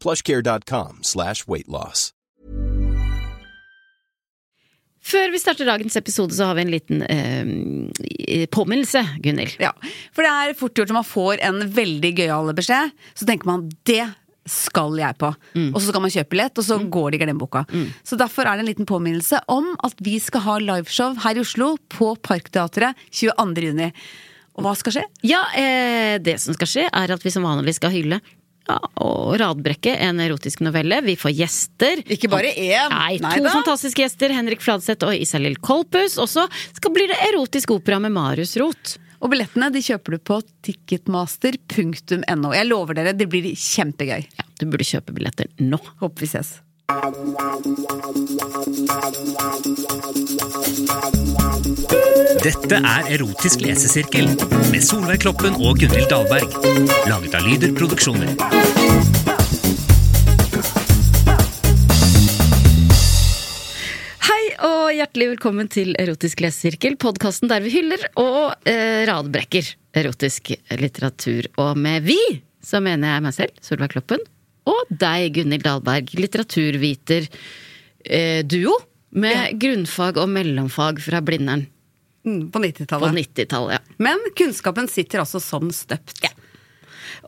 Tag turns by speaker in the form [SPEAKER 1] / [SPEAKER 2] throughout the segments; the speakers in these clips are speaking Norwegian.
[SPEAKER 1] plushcare.com slash weight loss.
[SPEAKER 2] Før vi starter dagens episode, så har vi en liten eh, påminnelse, Gunhild.
[SPEAKER 3] Ja, For det er fort gjort når man får en veldig gøyal beskjed, så tenker man det skal jeg på. Og så skal man kjøpe billett, og så går det i glemmeboka. Så derfor er det en liten påminnelse om at vi skal ha liveshow her i Oslo på Parkteatret 22. juni. Og hva skal skje?
[SPEAKER 2] Ja, eh, det som skal skje, er at vi som vanlig skal hylle ja, og radbrekke en erotisk novelle. Vi får gjester.
[SPEAKER 3] Ikke bare én.
[SPEAKER 2] Nei,
[SPEAKER 3] Nei
[SPEAKER 2] to
[SPEAKER 3] da.
[SPEAKER 2] fantastiske gjester. Henrik Fladseth og Isalill Kolpus. Og så skal- blir det erotisk opera med Marius Roth.
[SPEAKER 3] Og billettene de kjøper du på ticketmaster.no. Jeg lover dere, det blir kjempegøy.
[SPEAKER 2] Ja, du burde kjøpe billetter nå.
[SPEAKER 3] Håper vi ses.
[SPEAKER 4] Dette er Erotisk lesesirkel med Solveig Kloppen og Gunhild Dahlberg. Laget av Lyder Produksjoner.
[SPEAKER 2] Hei og hjertelig velkommen til Erotisk lesesirkel, podkasten der vi hyller og eh, radbrekker erotisk litteratur. Og med vi så mener jeg meg selv, Solveig Kloppen, og deg, Gunhild Dahlberg, litteraturviter eh, duo med grunnfag og mellomfag fra Blindern
[SPEAKER 3] Mm, På
[SPEAKER 2] på
[SPEAKER 3] 90-tallet.
[SPEAKER 2] 90-tallet. Ja.
[SPEAKER 3] Men kunnskapen sitter altså som støpt.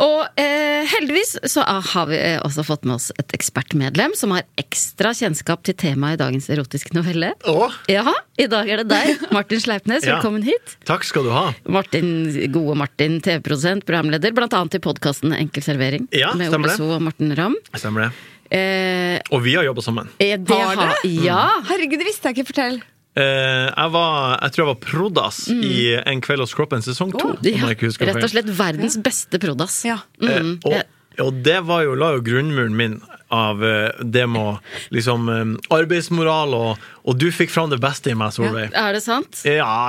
[SPEAKER 2] Og eh, heldigvis så har vi eh, også fått med oss et ekspertmedlem som har ekstra kjennskap til temaet i dagens erotiske novelle.
[SPEAKER 5] Å,
[SPEAKER 2] Ja, i dag er det deg, Martin Sleipnes.
[SPEAKER 5] Ja.
[SPEAKER 2] Velkommen hit.
[SPEAKER 5] takk skal du ha.
[SPEAKER 2] Martin, gode Martin, TV-produsent, programleder, blant annet i podkasten Enkel servering.
[SPEAKER 5] Ja,
[SPEAKER 2] med
[SPEAKER 5] stemmer
[SPEAKER 2] Ole
[SPEAKER 5] det.
[SPEAKER 2] So og Morten Ramm.
[SPEAKER 5] Stemmer det.
[SPEAKER 2] Eh,
[SPEAKER 5] Og vi har jobba sammen.
[SPEAKER 2] eh, det
[SPEAKER 3] Har dere?
[SPEAKER 2] Ja!
[SPEAKER 5] Mm.
[SPEAKER 3] Herregud, det visste jeg ikke. Fortell.
[SPEAKER 5] Eh, jeg, var, jeg tror jeg var prodas i En kveld hos kroppen sesong to. om
[SPEAKER 2] Mm. ja.
[SPEAKER 5] jeg ikke husker
[SPEAKER 2] Rett og
[SPEAKER 5] feil.
[SPEAKER 2] slett verdens beste prodas.
[SPEAKER 3] Ja.
[SPEAKER 2] Mm,
[SPEAKER 5] Eh,
[SPEAKER 2] ja.
[SPEAKER 5] og, og det var jo, la jo grunnmuren min av eh, det med å, liksom, eh, arbeidsmoral, og, og du fikk fram det beste i meg, Solveig. Ja.
[SPEAKER 2] Er det sant?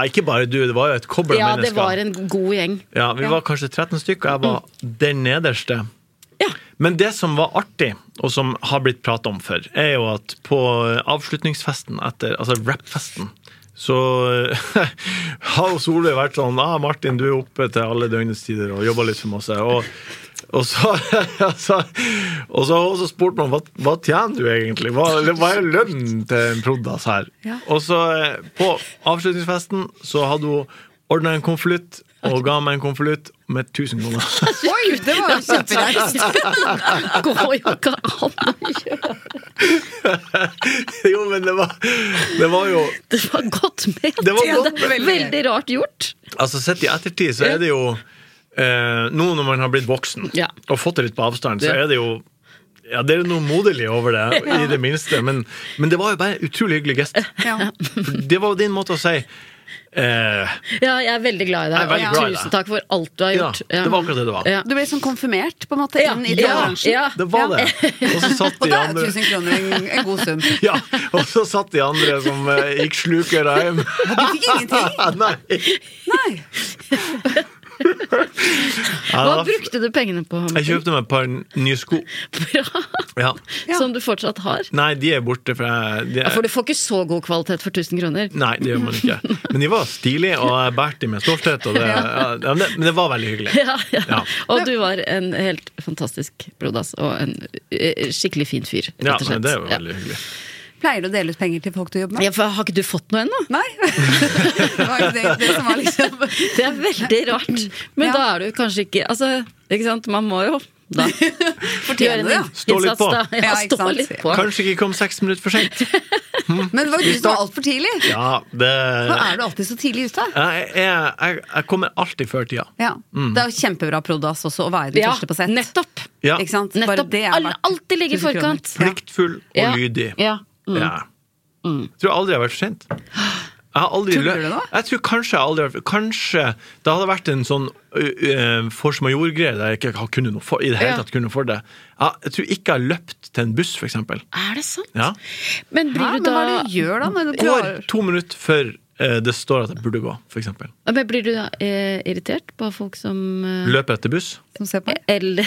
[SPEAKER 5] ikke bare du, det var jo et kobbel
[SPEAKER 2] Ja,
[SPEAKER 5] av
[SPEAKER 2] det var
[SPEAKER 5] mennesker.
[SPEAKER 2] en Mm. god gjeng.
[SPEAKER 5] Ja, vi var kanskje 13 stykker, og jeg var den nederste.
[SPEAKER 2] Ja.
[SPEAKER 5] Men det som var artig, og som har blitt pratet om før, er jo at på avslutningsfesten etter, altså rap-festen, så har jo Solveig vært sånn ah, 'Martin, du er oppe til alle døgnets tider og jobber litt for masse.' Og, og så altså, og så har hun også spurt meg hva, hva tjener du egentlig? Hva, eller hva er lønnen til en prod.ass her?
[SPEAKER 3] Ja.
[SPEAKER 5] Og så eh, på avslutningsfesten så hadde hun ordna en konvolutt og ga meg en konvolutt med 1000 kroner.
[SPEAKER 3] Oi, det var jo kjempereist.
[SPEAKER 2] Det går jo ikke an å gjøre
[SPEAKER 5] jo, men det var, det var jo
[SPEAKER 2] Det var godt ment!
[SPEAKER 5] Det var godt
[SPEAKER 2] er Veldig rart gjort.
[SPEAKER 5] Altså Sett i ettertid så er det jo eh, Nå når man har blitt voksen
[SPEAKER 2] Ja.
[SPEAKER 5] og fått det litt på avstand, så
[SPEAKER 2] Det-
[SPEAKER 5] er det jo ja, Det er noe moderlig over det, i det minste. Men, men det var jo bare en utrolig hyggelig gest.
[SPEAKER 3] Ja.
[SPEAKER 5] Det var jo din måte å si eh,
[SPEAKER 2] Ja, jeg er veldig
[SPEAKER 5] Jeg
[SPEAKER 2] glad i deg,
[SPEAKER 5] er veldig
[SPEAKER 2] og
[SPEAKER 5] glad i deg.
[SPEAKER 2] tusen takk for alt du har
[SPEAKER 5] Ja,
[SPEAKER 2] gjort.
[SPEAKER 5] det var akkurat det det var.
[SPEAKER 2] Ja.
[SPEAKER 3] Du ble sånn konfirmert på en måte
[SPEAKER 2] Ja,
[SPEAKER 3] inn i
[SPEAKER 2] ja,
[SPEAKER 3] bransjen.
[SPEAKER 2] ja.
[SPEAKER 5] Det var det. Og så satt
[SPEAKER 3] Og
[SPEAKER 5] de
[SPEAKER 3] da er
[SPEAKER 5] andre
[SPEAKER 3] 1000 kroner en, en god sum.
[SPEAKER 5] ja, og så satt de andre som eh, gikk sluker hjem.
[SPEAKER 3] Du fikk ingenting.
[SPEAKER 5] Nei.
[SPEAKER 3] Nei.
[SPEAKER 5] Ja,
[SPEAKER 2] Hva
[SPEAKER 5] da-
[SPEAKER 2] brukte du pengene på?
[SPEAKER 5] Jeg kjøpte meg et par nye sko.
[SPEAKER 2] Bra.
[SPEAKER 5] Ja.
[SPEAKER 2] Som du fortsatt har?
[SPEAKER 5] Nei, de er borte, for jeg de
[SPEAKER 2] Ja, For
[SPEAKER 5] er,
[SPEAKER 2] du får ikke så god kvalitet for 1000 kroner.
[SPEAKER 5] Nei, det gjør man ikke. Men de var stilige, og jeg bærte dem med stolthet. Og det, ja, men det, men det var veldig hyggelig.
[SPEAKER 2] Ja, ja.
[SPEAKER 5] Ja.
[SPEAKER 2] Og du var en helt fantastisk brodas, og en eh, skikkelig fin fyr.
[SPEAKER 5] Ja,
[SPEAKER 2] Rett
[SPEAKER 5] men
[SPEAKER 2] og slett.
[SPEAKER 5] det er jo
[SPEAKER 2] Ja.
[SPEAKER 5] veldig hyggelig.
[SPEAKER 3] Pleier du å dele ut penger til folk du jobber med?
[SPEAKER 2] Ja, for Har ikke du fått noe ennå?
[SPEAKER 3] Nei. Det var ikke det, det som var liksom
[SPEAKER 2] Det er veldig rart. Men
[SPEAKER 3] Ja.
[SPEAKER 2] da er du kanskje ikke Altså, ikke sant? Man må jo da.
[SPEAKER 3] Fortjener
[SPEAKER 2] Gjør en
[SPEAKER 3] det, ja.
[SPEAKER 5] Stå litt
[SPEAKER 2] innsats,
[SPEAKER 5] på.
[SPEAKER 2] da. Ja,
[SPEAKER 3] Ja, ikke
[SPEAKER 2] stå
[SPEAKER 3] sant?
[SPEAKER 2] litt på.
[SPEAKER 5] Kanskje ikke kom seks minutter for sent.
[SPEAKER 3] Men var du som var altfor tidlig?
[SPEAKER 5] Ja, det
[SPEAKER 3] Nå er du alltid så tidlig ute.
[SPEAKER 5] jeg, jeg, jeg, jeg kommer alltid før tida.
[SPEAKER 3] Ja.
[SPEAKER 5] Mm.
[SPEAKER 3] Det er jo kjempebra Prodas også å være den
[SPEAKER 2] Ja,
[SPEAKER 3] første på sett.
[SPEAKER 2] nettopp.
[SPEAKER 5] Ja.
[SPEAKER 3] Ikke sant? Bare
[SPEAKER 2] Nettopp.
[SPEAKER 3] det er
[SPEAKER 2] Alle
[SPEAKER 3] verdt
[SPEAKER 2] alltid ligger i
[SPEAKER 3] 1000 kroner.
[SPEAKER 2] forkant.
[SPEAKER 5] Pliktfull og
[SPEAKER 2] Ja.
[SPEAKER 5] lydig.
[SPEAKER 2] Ja. Mm.
[SPEAKER 5] Ja. Jeg tror aldri jeg har vært for sent. Jeg har aldri
[SPEAKER 3] Tuller du nå?
[SPEAKER 5] Jeg tror kanskje jeg aldri har vært Kanskje det hadde vært en sånn ø, ø, force majeure-greie der jeg ikke har kunnet noe for, i det hele
[SPEAKER 2] Ja.
[SPEAKER 5] tatt kunne for det. Ja, Jeg tror ikke jeg har løpt til en buss, for eksempel.
[SPEAKER 2] Er det sant?
[SPEAKER 5] Ja.
[SPEAKER 2] Men
[SPEAKER 3] Ja,
[SPEAKER 2] blir
[SPEAKER 3] men
[SPEAKER 2] du
[SPEAKER 3] hva er
[SPEAKER 2] da
[SPEAKER 3] det du gjør da? Når du
[SPEAKER 5] Går
[SPEAKER 3] går?
[SPEAKER 5] to minutter før ø, det står at jeg burde gå, for eksempel.
[SPEAKER 2] Men blir du da eh, irritert på folk som eh,
[SPEAKER 5] Løper etter buss.
[SPEAKER 3] Som ser på?
[SPEAKER 2] eller,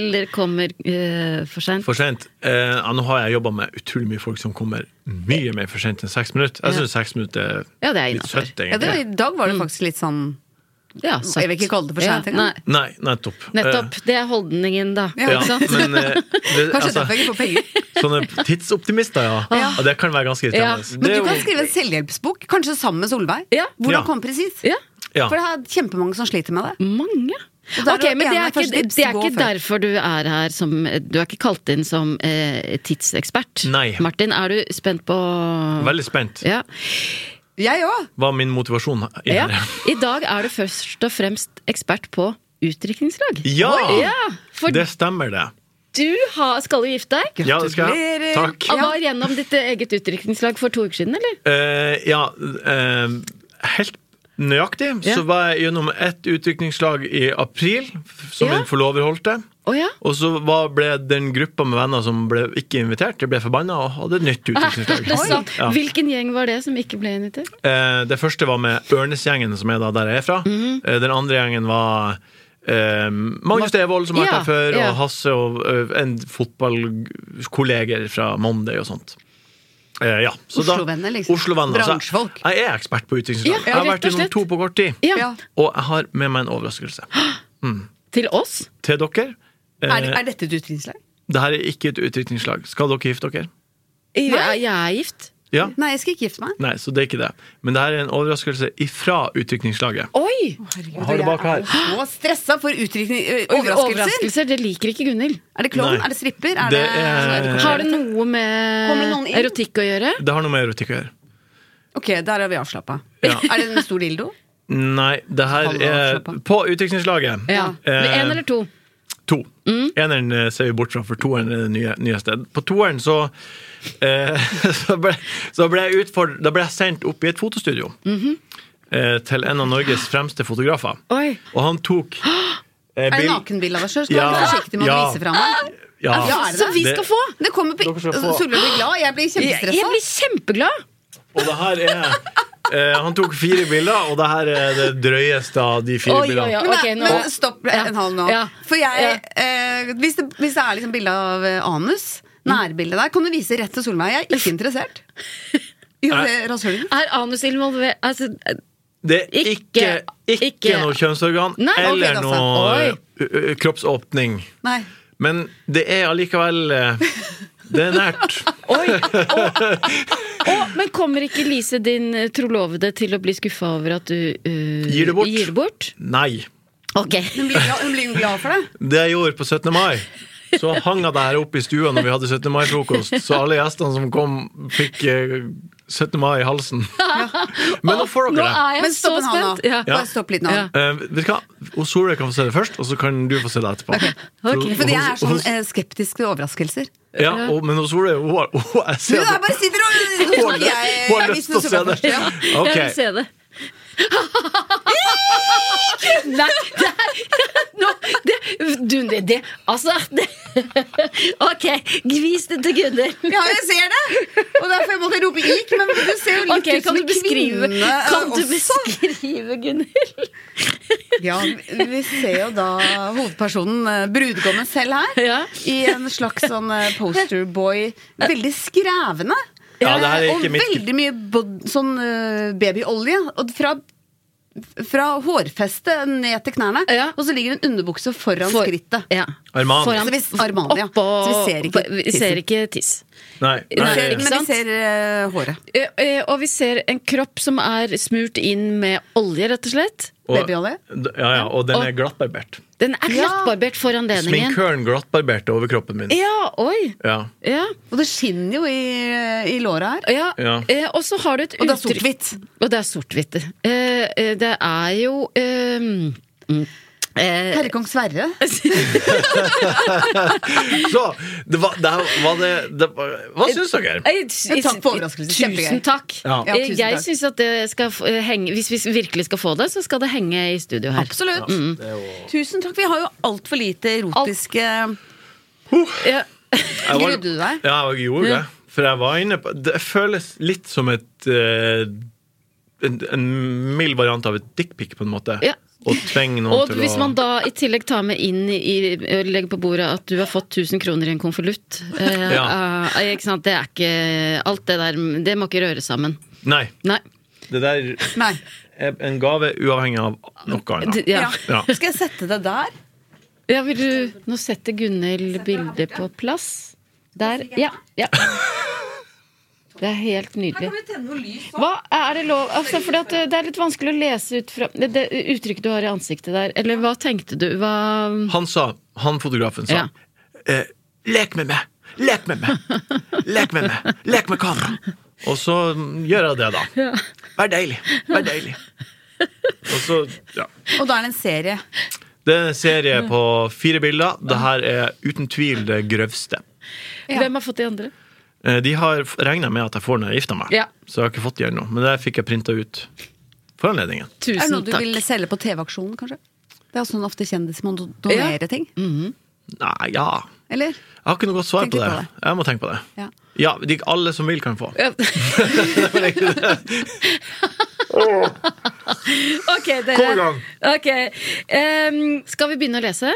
[SPEAKER 2] eller kommer eh, for seint?
[SPEAKER 5] For sent. Eh, ja, nå har jeg jobba med utrolig mye folk som kommer mye mer for sent enn seks minutter. Jeg
[SPEAKER 2] Ja.
[SPEAKER 5] syns seks minutter er,
[SPEAKER 2] Ja, det er
[SPEAKER 5] litt
[SPEAKER 2] innenfor.
[SPEAKER 5] søtt,
[SPEAKER 3] Ja, det,
[SPEAKER 5] egentlig.
[SPEAKER 3] I dag var det
[SPEAKER 2] mm.
[SPEAKER 3] faktisk litt sånn
[SPEAKER 2] Ja,
[SPEAKER 3] Jeg vil ikke kalle det for sent
[SPEAKER 2] Ja,
[SPEAKER 3] engang. Eh.
[SPEAKER 2] nei.
[SPEAKER 5] Nei, nettopp.
[SPEAKER 2] Nettopp. Det er holdningen, da.
[SPEAKER 3] Ja.
[SPEAKER 5] Eh, ja,
[SPEAKER 2] Ikke sant?
[SPEAKER 5] men eh, det,
[SPEAKER 3] Kanskje
[SPEAKER 5] altså,
[SPEAKER 3] derfor jeg ikke får penger.
[SPEAKER 5] Sånne tidsoptimister, ja.
[SPEAKER 3] Ja.
[SPEAKER 5] Og det kan være ganske irriterende.
[SPEAKER 2] Ja.
[SPEAKER 3] Men
[SPEAKER 5] Det er
[SPEAKER 3] du kan
[SPEAKER 5] jo-
[SPEAKER 3] skrive en selvhjelpsbok, kanskje sammen med Solveig.
[SPEAKER 2] Ja.
[SPEAKER 3] Hvordan
[SPEAKER 5] Ja.
[SPEAKER 3] komme presis?
[SPEAKER 2] Ja. Mm.
[SPEAKER 5] Ja.
[SPEAKER 3] For det er kjempemange som sliter med det.
[SPEAKER 2] Mange.
[SPEAKER 3] Og da er
[SPEAKER 2] Ok,
[SPEAKER 3] det
[SPEAKER 2] men det
[SPEAKER 3] gjerne
[SPEAKER 2] er ikke,
[SPEAKER 3] første tips
[SPEAKER 2] det er
[SPEAKER 3] gå
[SPEAKER 2] ikke
[SPEAKER 3] før.
[SPEAKER 2] derfor du er her som Du er ikke kalt inn som eh, tidsekspert.
[SPEAKER 5] Nei.
[SPEAKER 2] Martin, er du spent på
[SPEAKER 5] Veldig spent.
[SPEAKER 2] Ja.
[SPEAKER 3] Jeg òg!
[SPEAKER 5] Hva er min motivasjon i
[SPEAKER 2] ja.
[SPEAKER 5] det?
[SPEAKER 2] I dag er du først og fremst ekspert på utdrikningslag.
[SPEAKER 5] Ja!
[SPEAKER 2] ja! For
[SPEAKER 5] Det stemmer, det.
[SPEAKER 2] du har, skal jo gifte deg.
[SPEAKER 5] Ja, det skal jeg.
[SPEAKER 3] Gratulerer.
[SPEAKER 5] Takk.
[SPEAKER 2] Han var gjennom ditt eget utdrikningslag for to uker siden, eller?
[SPEAKER 5] Eh, ja, eh, helt nøyaktig
[SPEAKER 2] Ja.
[SPEAKER 5] så var jeg gjennom ett utdrikningslag i april, f- som
[SPEAKER 2] Ja.
[SPEAKER 5] min forlover holdt det.
[SPEAKER 2] Å ja.
[SPEAKER 5] Og så var, ble den gruppa med venner som ble ikke invitert, de ble forbanna og hadde et nytt utdrikningslag.
[SPEAKER 2] Det er sant.
[SPEAKER 5] Ja.
[SPEAKER 2] Hvilken gjeng var det som ikke ble invitert?
[SPEAKER 5] Eh, det første var med Ørnesgjengen, som er da der jeg er fra.
[SPEAKER 2] Mhm.
[SPEAKER 5] Eh, den andre gjengen var eh, Magnus Devold, som har vært
[SPEAKER 2] Ja,
[SPEAKER 5] her før,
[SPEAKER 2] ja.
[SPEAKER 5] og Hasse og eh, en fotballkolleger fra Monday og sånt. Eh, ja. så da-
[SPEAKER 3] Oslo-venner, liksom.
[SPEAKER 5] Oslo-venner. Så jeg-
[SPEAKER 3] Bransjefolk.
[SPEAKER 5] Jeg er ekspert på utviklingslag.
[SPEAKER 2] Ja,
[SPEAKER 5] jeg har
[SPEAKER 2] rett
[SPEAKER 5] vært
[SPEAKER 2] og
[SPEAKER 5] gjennom
[SPEAKER 2] slett.
[SPEAKER 5] to på kort tid.
[SPEAKER 2] Ja.
[SPEAKER 3] Ja.
[SPEAKER 5] Og jeg har med meg en overraskelse
[SPEAKER 2] Til oss?
[SPEAKER 5] til dere. Eh,
[SPEAKER 3] Er, er dette et utdrikningslag?
[SPEAKER 5] det her er ikke et utviklingslag. Skal dere gifte dere?
[SPEAKER 2] Jeg, jeg er gift.
[SPEAKER 5] Ja?
[SPEAKER 3] Nei, jeg skal ikke gifte meg.
[SPEAKER 5] Nei, så det er ikke det. Men det her er en overraskelse ifra utviklingslaget.
[SPEAKER 2] Oi!
[SPEAKER 5] Jeg har det bak her.
[SPEAKER 3] Så stressa for utdrikning... ø, Overraskelser!
[SPEAKER 2] Overraskelser, det liker ikke Gunhild.
[SPEAKER 3] Er det klovn?
[SPEAKER 5] Nei.
[SPEAKER 3] Er det stripper? Er det,
[SPEAKER 5] Det er- Eh,
[SPEAKER 2] Har det noe
[SPEAKER 3] Kommer det noen
[SPEAKER 2] med
[SPEAKER 3] inn?
[SPEAKER 2] erotikk å gjøre?
[SPEAKER 5] Det har noe med erotikk å gjøre.
[SPEAKER 3] Ok, der er vi avslappa.
[SPEAKER 5] Ja.
[SPEAKER 3] Er det en stor dildo?
[SPEAKER 5] Nei, det her
[SPEAKER 3] Halve
[SPEAKER 5] er
[SPEAKER 3] avslappa.
[SPEAKER 5] På utviklingslaget.
[SPEAKER 2] Ja.
[SPEAKER 5] Eh,
[SPEAKER 2] Én eller Mm. to?
[SPEAKER 5] To. Eneren eh, ser vi bort fra, for toeren er det nye, nyeste. På toeren så eh, Så ble, så ble jeg utfordret Da ble jeg sendt opp i et fotostudio. eh, til en av Norges fremste fotografer.
[SPEAKER 2] Mhm. Oi.
[SPEAKER 5] Og han tok eh,
[SPEAKER 3] Er det
[SPEAKER 5] bil-
[SPEAKER 3] nakenbilde av deg sjøl? Skal du
[SPEAKER 5] Ja.
[SPEAKER 3] være forsiktig med å
[SPEAKER 5] Ja.
[SPEAKER 3] vise fram her.
[SPEAKER 5] Ja.
[SPEAKER 3] Ja, er det
[SPEAKER 2] Som vi
[SPEAKER 5] Det-
[SPEAKER 2] skal få!
[SPEAKER 3] Det kommer på
[SPEAKER 5] Dere skal få-
[SPEAKER 3] Solveig blir glad, jeg blir
[SPEAKER 2] Ah! Jeg, jeg
[SPEAKER 3] kjempestressa.
[SPEAKER 2] blir kjempeglad!
[SPEAKER 5] Og det her er eh, Han tok fire bilder, og det her er det drøyeste av de fire
[SPEAKER 2] Oi, oi,
[SPEAKER 5] bildene.
[SPEAKER 2] oi.
[SPEAKER 3] Men,
[SPEAKER 2] Ok,
[SPEAKER 3] nei,
[SPEAKER 2] nå-
[SPEAKER 3] men stopp en halv nå.
[SPEAKER 2] Ja.
[SPEAKER 3] For jeg,
[SPEAKER 2] Ja.
[SPEAKER 3] eh, hvis, det, hvis det er liksom bilde av eh, anus,
[SPEAKER 2] Mm.
[SPEAKER 3] nærbildet der, kan du vise rett til Solveig. Jeg er ikke interessert. Gjorde det rasshølet ditt?
[SPEAKER 2] Er anus involvert altså, eh,
[SPEAKER 5] Det er ikke, ikke,
[SPEAKER 2] Ikke- ikke-
[SPEAKER 5] noe kjønnsorgan
[SPEAKER 2] Nei, ok,
[SPEAKER 5] eller
[SPEAKER 3] da,
[SPEAKER 5] noe
[SPEAKER 2] sant.
[SPEAKER 5] ø, ø, kroppsåpning.
[SPEAKER 3] Nei.
[SPEAKER 5] Men det er allikevel eh, Det er nært.
[SPEAKER 2] Oi! Og, og, men kommer ikke Lise, din eh, trolovede, til å bli skuffa over at du eh,
[SPEAKER 5] Gir det bort.
[SPEAKER 2] Gir det bort?
[SPEAKER 5] Nei.
[SPEAKER 2] Ok.
[SPEAKER 3] Hun blir, glad, hun blir jo glad for det.
[SPEAKER 5] Det jeg gjorde på 17. mai så hang jeg det her oppe i stua når vi hadde 17. mai-frokost, så alle gjestene som kom, fikk eh, 17. mai i halsen. Men nå får
[SPEAKER 2] Nå
[SPEAKER 5] dere det.
[SPEAKER 2] er jeg
[SPEAKER 3] Men
[SPEAKER 2] så
[SPEAKER 3] stopp en hal nå.
[SPEAKER 2] spent! Ja.
[SPEAKER 3] Bare stopp litt nå.
[SPEAKER 2] Ja.
[SPEAKER 5] Eh, vet du hva? Og Solveig kan få se det først, og så kan du få se det etterpå.
[SPEAKER 2] Ok.
[SPEAKER 3] Fordi jeg er
[SPEAKER 5] Og- og-
[SPEAKER 3] sånn eh, skeptisk til overraskelser.
[SPEAKER 5] Ja, og, men hos Solveig hun, har- hun, jeg
[SPEAKER 3] Du
[SPEAKER 5] ser
[SPEAKER 3] da,
[SPEAKER 5] det.
[SPEAKER 3] bare sitter og
[SPEAKER 5] Hun har lyst- hun har lyst til å se det.
[SPEAKER 2] Jeg vil
[SPEAKER 5] Ok,
[SPEAKER 2] se det. Nei, det er nå, det, du, det, det Altså, det Ok, gvis det til Gunnhild.
[SPEAKER 3] Ja, jeg ser det! Og derfor måtte jeg rope ikk, men du ser jo litt
[SPEAKER 2] Ok, kan
[SPEAKER 3] ut som
[SPEAKER 2] du
[SPEAKER 3] en
[SPEAKER 2] beskrive,
[SPEAKER 3] kvinne eh,
[SPEAKER 2] kan du
[SPEAKER 3] også.
[SPEAKER 2] beskrive Gunnhild?
[SPEAKER 3] Ja, vi ser jo da hovedpersonen, eh, brudgommen selv her,
[SPEAKER 2] Ja.
[SPEAKER 3] i en slags sånn eh, posterboy. Veldig skrevende.
[SPEAKER 5] Ja, det her er
[SPEAKER 3] Eh,
[SPEAKER 5] ikke
[SPEAKER 3] og
[SPEAKER 5] mitt-
[SPEAKER 3] veldig mye bod sånn eh, babyolje. Og fra fra hårfeste ned til knærne,
[SPEAKER 2] Ja.
[SPEAKER 3] og så ligger en underbukse foran
[SPEAKER 2] For-
[SPEAKER 3] skrittet.
[SPEAKER 2] Ja.
[SPEAKER 5] Armani.
[SPEAKER 3] Så vi- Armani, ja.
[SPEAKER 2] oppå
[SPEAKER 3] Så vi ser ikke
[SPEAKER 2] Vi ser ikke tiss.
[SPEAKER 5] Nei,
[SPEAKER 2] Nei,
[SPEAKER 5] nei,
[SPEAKER 2] ikke
[SPEAKER 3] Men vi
[SPEAKER 2] sant?
[SPEAKER 3] ser eh, håret.
[SPEAKER 2] Eh, eh, Og vi ser en kropp som er smurt inn med olje, rett og slett.
[SPEAKER 5] Og-
[SPEAKER 3] Babyolje?
[SPEAKER 5] D- Ja, ja, og den er glattbarbert.
[SPEAKER 2] Den er glattbarbert for anledningen.
[SPEAKER 5] Sminkøren glattbarberte over kroppen min.
[SPEAKER 2] Ja, oi!
[SPEAKER 5] Ja.
[SPEAKER 2] Ja,
[SPEAKER 3] Og det skinner jo i, i låra her.
[SPEAKER 2] ja.
[SPEAKER 5] Ja.
[SPEAKER 2] Eh, og så har du et
[SPEAKER 3] Og det er
[SPEAKER 2] uttrykk-
[SPEAKER 3] sort-hvitt.
[SPEAKER 2] Og det er sort-hvitt. Eh, eh, det er jo eh, mm, eh,
[SPEAKER 3] Herre kong Sverre.
[SPEAKER 5] Så det var, det her var det, det var, Hva syns dere?
[SPEAKER 2] Nei,
[SPEAKER 3] takk for overraskelsen.
[SPEAKER 2] Tusen
[SPEAKER 3] Kjempegøy.
[SPEAKER 2] takk.
[SPEAKER 5] Ja.
[SPEAKER 3] Ja, tusen
[SPEAKER 2] jeg
[SPEAKER 3] takk.
[SPEAKER 2] synes at det skal f- henge Hvis vi virkelig skal få det, så skal det henge i studio her.
[SPEAKER 3] Absolutt. Tusen takk. Vi har jo altfor lite erotiske
[SPEAKER 2] Ja.
[SPEAKER 5] Jeg var-
[SPEAKER 3] Grudde du deg?
[SPEAKER 5] Ja, jeg gjorde det.
[SPEAKER 2] Mm.
[SPEAKER 5] For jeg var inne på Det føles litt som et eh, en, en mild variant av et dickpic, på en måte.
[SPEAKER 2] Ja.
[SPEAKER 5] Å tvinge noen
[SPEAKER 2] Og
[SPEAKER 5] til
[SPEAKER 2] hvis
[SPEAKER 5] å
[SPEAKER 2] man da i tillegg tar med inn i og legger på bordet at du har fått 1000 kroner i en konvolutt eh,
[SPEAKER 5] Ja.
[SPEAKER 2] eh, Ikke sant, det er ikke Alt det der, det må ikke røre sammen.
[SPEAKER 5] Nei.
[SPEAKER 2] Nei.
[SPEAKER 5] Det der
[SPEAKER 3] Nei.
[SPEAKER 5] er en gave uavhengig av noe
[SPEAKER 2] D-
[SPEAKER 5] annet.
[SPEAKER 2] Ja.
[SPEAKER 3] Ja.
[SPEAKER 5] Ja.
[SPEAKER 3] Skal jeg sette det der?
[SPEAKER 2] ja, vil du Nå setter Gunhild bildet på plass. Der. Ja. ja. Det er helt nydelig. Hva er det lov altså, fordi at Det er litt vanskelig å lese ut fra det, det uttrykket du har i ansiktet der. Eller hva tenkte du? Hva
[SPEAKER 5] Han sa, han fotografen sa
[SPEAKER 2] Ja.
[SPEAKER 5] eh, Lek med meg! Lek med meg! Lek med meg! Lek med kamera! Og så gjør jeg det, da. Vær deilig! Vær deilig! Og så, ja.
[SPEAKER 3] Og da er det en serie.
[SPEAKER 5] Det er en serie på fire bilder. Det her er uten tvil det grøvste.
[SPEAKER 2] Hvem har fått de andre?
[SPEAKER 5] Eh, De har regna med at jeg får når jeg gifter meg,
[SPEAKER 2] Ja.
[SPEAKER 5] så jeg har ikke fått de ennå. Men det fikk jeg printa ut for anledningen.
[SPEAKER 3] Er det
[SPEAKER 2] Tusen
[SPEAKER 3] noe du
[SPEAKER 2] takk.
[SPEAKER 3] vil selge på TV-aksjonen, kanskje? Det er sånn ofte kjendiser må do- donere ting.
[SPEAKER 2] Mm.
[SPEAKER 5] Nei, ja
[SPEAKER 3] Eller?
[SPEAKER 5] Jeg har ikke noe godt svar
[SPEAKER 3] Tenk
[SPEAKER 5] på det.
[SPEAKER 3] litt på det.
[SPEAKER 5] Jeg må tenke på det.
[SPEAKER 3] Ja.
[SPEAKER 5] Ja, de, alle som vil, kan få.
[SPEAKER 2] Ja. ok, dere.
[SPEAKER 5] Kom i gang.
[SPEAKER 2] Ok. Em, skal vi begynne å lese?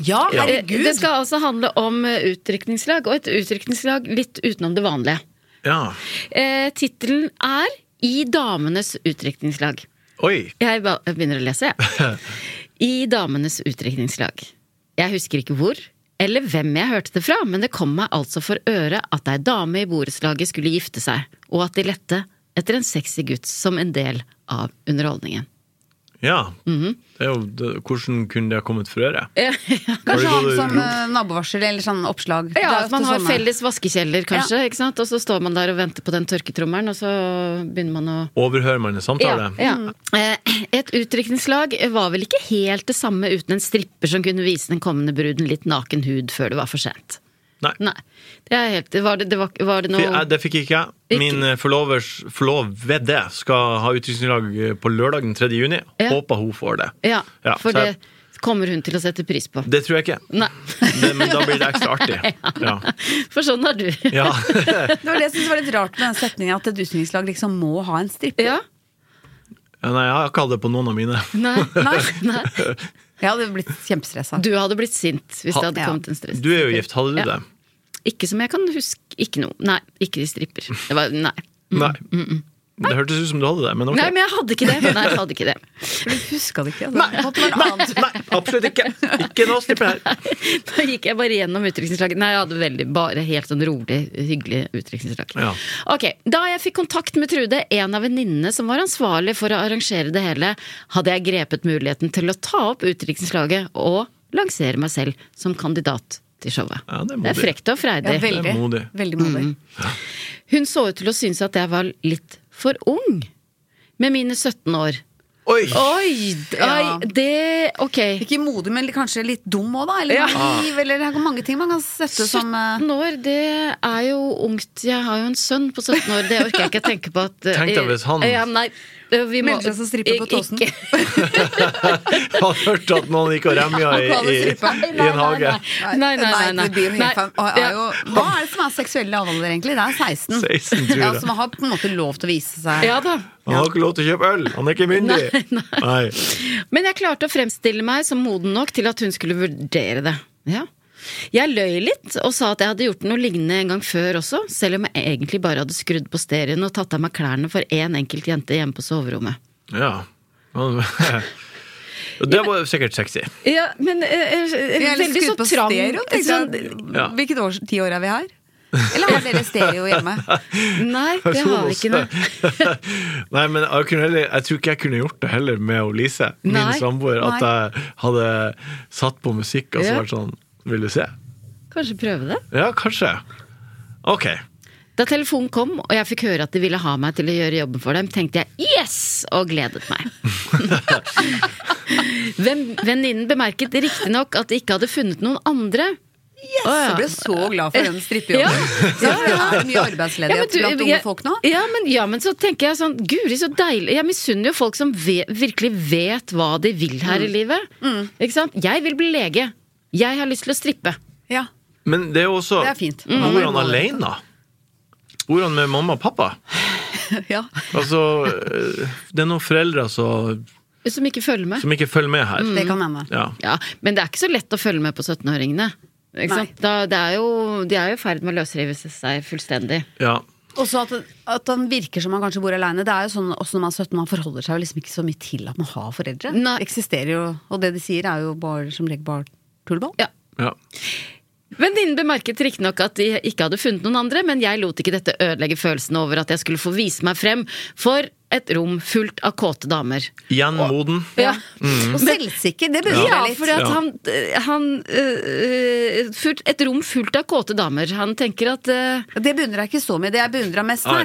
[SPEAKER 3] Ja,
[SPEAKER 2] Eh, Det skal altså handle om eh, utrykningslag, og et utrykningslag litt utenom det vanlige.
[SPEAKER 5] Ja.
[SPEAKER 2] Eh, Tittelen er I damenes utrykningslag.
[SPEAKER 5] Oi.
[SPEAKER 2] Jeg ba- jeg begynner å lese, jeg. I damenes utdrikningslag. Jeg husker ikke hvor eller hvem jeg hørte det fra, men det kom meg altså for øre at ei dame i borettslaget skulle gifte seg, og at de lette etter en sexy gutt som en del av underholdningen.
[SPEAKER 5] Ja.
[SPEAKER 2] Mhm.
[SPEAKER 5] det er jo, det, hvordan kunne det ha kommet for øre?
[SPEAKER 3] Kanskje
[SPEAKER 5] Har
[SPEAKER 3] ha
[SPEAKER 5] du
[SPEAKER 3] det
[SPEAKER 5] gått
[SPEAKER 3] som eh, nabovarsel eller sånn oppslag. Det er
[SPEAKER 2] Ja,
[SPEAKER 3] ofte sånn
[SPEAKER 2] at man har
[SPEAKER 3] sånne.
[SPEAKER 2] felles vaskekjeller, kanskje, ikke sant? og så står man der og venter på den tørketrommelen, og så begynner man å
[SPEAKER 5] Overhører man en samtale?
[SPEAKER 2] Ja, ja. Eh, Et utdrikningslag var vel ikke helt det samme uten en stripper som kunne vise den kommende bruden litt naken hud før det var for sent.
[SPEAKER 5] Nei.
[SPEAKER 2] Nei. Det er helt Var det, det, var, var det
[SPEAKER 5] Fi- eh,
[SPEAKER 2] noe
[SPEAKER 5] Det fikk ikke jeg.
[SPEAKER 2] Ikke.
[SPEAKER 5] Min eh, forlovers forlovede skal ha utdrikningslag på lørdag den 3. juni.
[SPEAKER 2] Ja.
[SPEAKER 5] Håper hun får det.
[SPEAKER 2] Ja,
[SPEAKER 5] Ja,
[SPEAKER 2] for
[SPEAKER 5] så jeg-
[SPEAKER 2] det kommer hun til å sette pris på.
[SPEAKER 5] Det tror jeg ikke.
[SPEAKER 2] Nei.
[SPEAKER 5] Det, men da blir det ekstra artig. Ja.
[SPEAKER 2] For sånn er du.
[SPEAKER 5] ja.
[SPEAKER 3] Det var det jeg syntes var litt rart med den setningen at et utenrikslag liksom må ha en stripper.
[SPEAKER 2] Ja.
[SPEAKER 5] Ja, Nei, jeg har ikke hatt det på noen av mine.
[SPEAKER 2] Nei.
[SPEAKER 3] Nei.
[SPEAKER 2] Nei.
[SPEAKER 3] Jeg hadde blitt kjempestressa.
[SPEAKER 2] Du hadde blitt sint hvis det
[SPEAKER 5] Ha-
[SPEAKER 2] hadde
[SPEAKER 3] Ja.
[SPEAKER 2] kommet en stress.
[SPEAKER 5] Du er jo gift, hadde du
[SPEAKER 2] Ja.
[SPEAKER 5] det?
[SPEAKER 2] Ikke som jeg kan huske. Ikke noe. Nei, ikke de stripper. Det var, nei.
[SPEAKER 5] Nei. Det hørtes ut som du hadde det, men ok.
[SPEAKER 2] Mm, nei, men jeg hadde ikke det. Nei, jeg hadde ikke det.
[SPEAKER 3] Du huska det ikke? Altså. Det måtte være noe annet.
[SPEAKER 5] Nei, absolutt ikke! Ikke noe stripper her.
[SPEAKER 2] Da gikk jeg bare gjennom utdrikningslaget. Nei, jeg hadde veldig, bare helt sånn rolig, hyggelig utdrikningslag.
[SPEAKER 5] Ja.
[SPEAKER 2] Ok, Da jeg fikk kontakt med Trude, en av venninnene som var ansvarlig for å arrangere det hele, hadde jeg grepet muligheten til å ta opp utdrikningslaget og lansere meg selv som kandidat til showet.
[SPEAKER 5] Ja, det er
[SPEAKER 2] det
[SPEAKER 5] modig.
[SPEAKER 2] er frekt og freidig.
[SPEAKER 3] Ja, veldig.
[SPEAKER 5] modig.
[SPEAKER 3] Veldig modig.
[SPEAKER 2] Mm. Hun så ut til å synes at jeg var litt for ung. Med mine 17 år.
[SPEAKER 5] Oi!
[SPEAKER 2] Oi! d- oi
[SPEAKER 3] Ja.
[SPEAKER 2] Det Ok.
[SPEAKER 3] Ikke modig, men kanskje litt dum òg, da. Eller naiv, eller det er mange ting man kan sette som eh,
[SPEAKER 2] 17 år, det er jo ungt. Jeg har jo en sønn på 17 år. Det orker jeg ikke tenke på. At, eh,
[SPEAKER 5] Tenk deg hvis han-
[SPEAKER 2] ja, nei, eh, vi må,
[SPEAKER 3] Melder seg som stripper på Tåsen.
[SPEAKER 2] Ikke-
[SPEAKER 5] Jeg hadde hørt at noen gikk og remja i, i, i en hage.
[SPEAKER 2] Nei, nei, nei, nei.
[SPEAKER 3] det blir jo helt
[SPEAKER 2] Nei.
[SPEAKER 3] feil. Og er jo,
[SPEAKER 2] Ja.
[SPEAKER 3] hva er det som er seksuelle avholder, egentlig? Det er 16.
[SPEAKER 5] 16, tror jeg.
[SPEAKER 3] Ja, så man har på en måte lov til å vise seg.
[SPEAKER 2] Ja da.
[SPEAKER 5] Han har ikke lov til å kjøpe øl! Han er ikke myndig! Nei,
[SPEAKER 2] Men jeg klarte å fremstille meg som moden nok til at hun skulle vurdere det. Ja. Jeg løy litt og sa at jeg hadde gjort noe lignende en gang før også, selv om jeg egentlig bare hadde skrudd på stereoen og tatt av meg klærne for én enkelt jente hjemme på soverommet.
[SPEAKER 5] Ja. Han- Og det var jo sikkert sexy.
[SPEAKER 2] Ja, men
[SPEAKER 3] Jeg er litt
[SPEAKER 2] veldig
[SPEAKER 3] eh, skrudd
[SPEAKER 2] så
[SPEAKER 3] på
[SPEAKER 2] trang sånn
[SPEAKER 3] stereo, tenkte jeg.
[SPEAKER 5] Ja.
[SPEAKER 3] Hvilket år, tiår er vi her? Eller har dere stereo hjemme?
[SPEAKER 2] Nei, det har vi ikke. Nei.
[SPEAKER 5] Nei, men jeg, kunne heller, jeg tror ikke jeg kunne gjort det heller med å Lise, min
[SPEAKER 2] Nei,
[SPEAKER 5] samboer, at
[SPEAKER 3] nei.
[SPEAKER 5] jeg hadde satt på musikk og så
[SPEAKER 2] Ja.
[SPEAKER 5] vært sånn Vil du se?
[SPEAKER 2] Kanskje prøve det?
[SPEAKER 5] Ja, kanskje. Ok.
[SPEAKER 2] Da telefonen kom og jeg fikk høre at de ville ha meg til å gjøre jobben for dem, tenkte jeg yes! og gledet meg. Hvem- Venninnen bemerket riktignok at de ikke hadde funnet noen andre.
[SPEAKER 3] Yes!
[SPEAKER 2] Å, ja.
[SPEAKER 3] Jeg ble så glad for den strippejobben.
[SPEAKER 2] Ja,
[SPEAKER 3] Så Det er mye arbeidsledighet
[SPEAKER 2] Ja, men
[SPEAKER 3] blant
[SPEAKER 2] du,
[SPEAKER 3] unge
[SPEAKER 2] jeg-
[SPEAKER 3] folk nå.
[SPEAKER 2] Ja men, ja, men så tenker jeg sånn Guri, så deilig. Jeg misunner jo folk som ve- virkelig vet hva de vil her
[SPEAKER 3] Mm.
[SPEAKER 2] i livet. Ikke sant? Jeg vil bli lege. Jeg har lyst til å strippe.
[SPEAKER 3] Ja.
[SPEAKER 5] Men det er jo også
[SPEAKER 3] Det er fint.
[SPEAKER 5] Bor han
[SPEAKER 3] Mm.
[SPEAKER 5] alene? Bor han med mamma og pappa?
[SPEAKER 3] ja.
[SPEAKER 5] Altså, øh, det er noen foreldre som,
[SPEAKER 2] Som ikke følger med.
[SPEAKER 5] som ikke følger med her.
[SPEAKER 3] Det kan hende.
[SPEAKER 5] Ja.
[SPEAKER 2] Ja, men det er ikke så lett å følge med på 17-åringene. Ikke
[SPEAKER 3] Nei.
[SPEAKER 2] sant? Da, det er jo, de er jo i ferd med å løsrive seg fullstendig.
[SPEAKER 5] ja.
[SPEAKER 3] Også at, at han virker som han kanskje bor aleine. Det er jo sånn også når man er 17, man forholder seg jo liksom ikke så mye til at man har foreldre.
[SPEAKER 2] Nei.
[SPEAKER 3] Det eksisterer jo, og det de sier er jo bare, som regel bare tullball.
[SPEAKER 2] Ja.
[SPEAKER 5] ja.
[SPEAKER 2] Venninnen bemerket riktignok at de ikke hadde funnet noen andre, men jeg lot ikke dette ødelegge følelsen over at jeg skulle få vise meg frem for et rom fullt av kåte damer.
[SPEAKER 5] Igjen moden.
[SPEAKER 2] Ja, Mm.
[SPEAKER 3] Og selvsikker, det berører
[SPEAKER 2] ja
[SPEAKER 3] jeg litt.
[SPEAKER 2] fordi at
[SPEAKER 5] Ja.
[SPEAKER 2] han, eh, han øh, øh, fullt- Et rom fullt av kåte damer. Han tenker at øh,
[SPEAKER 3] Det beundrer jeg ikke så mye. Det jeg beundra mest
[SPEAKER 5] Nei.
[SPEAKER 3] her,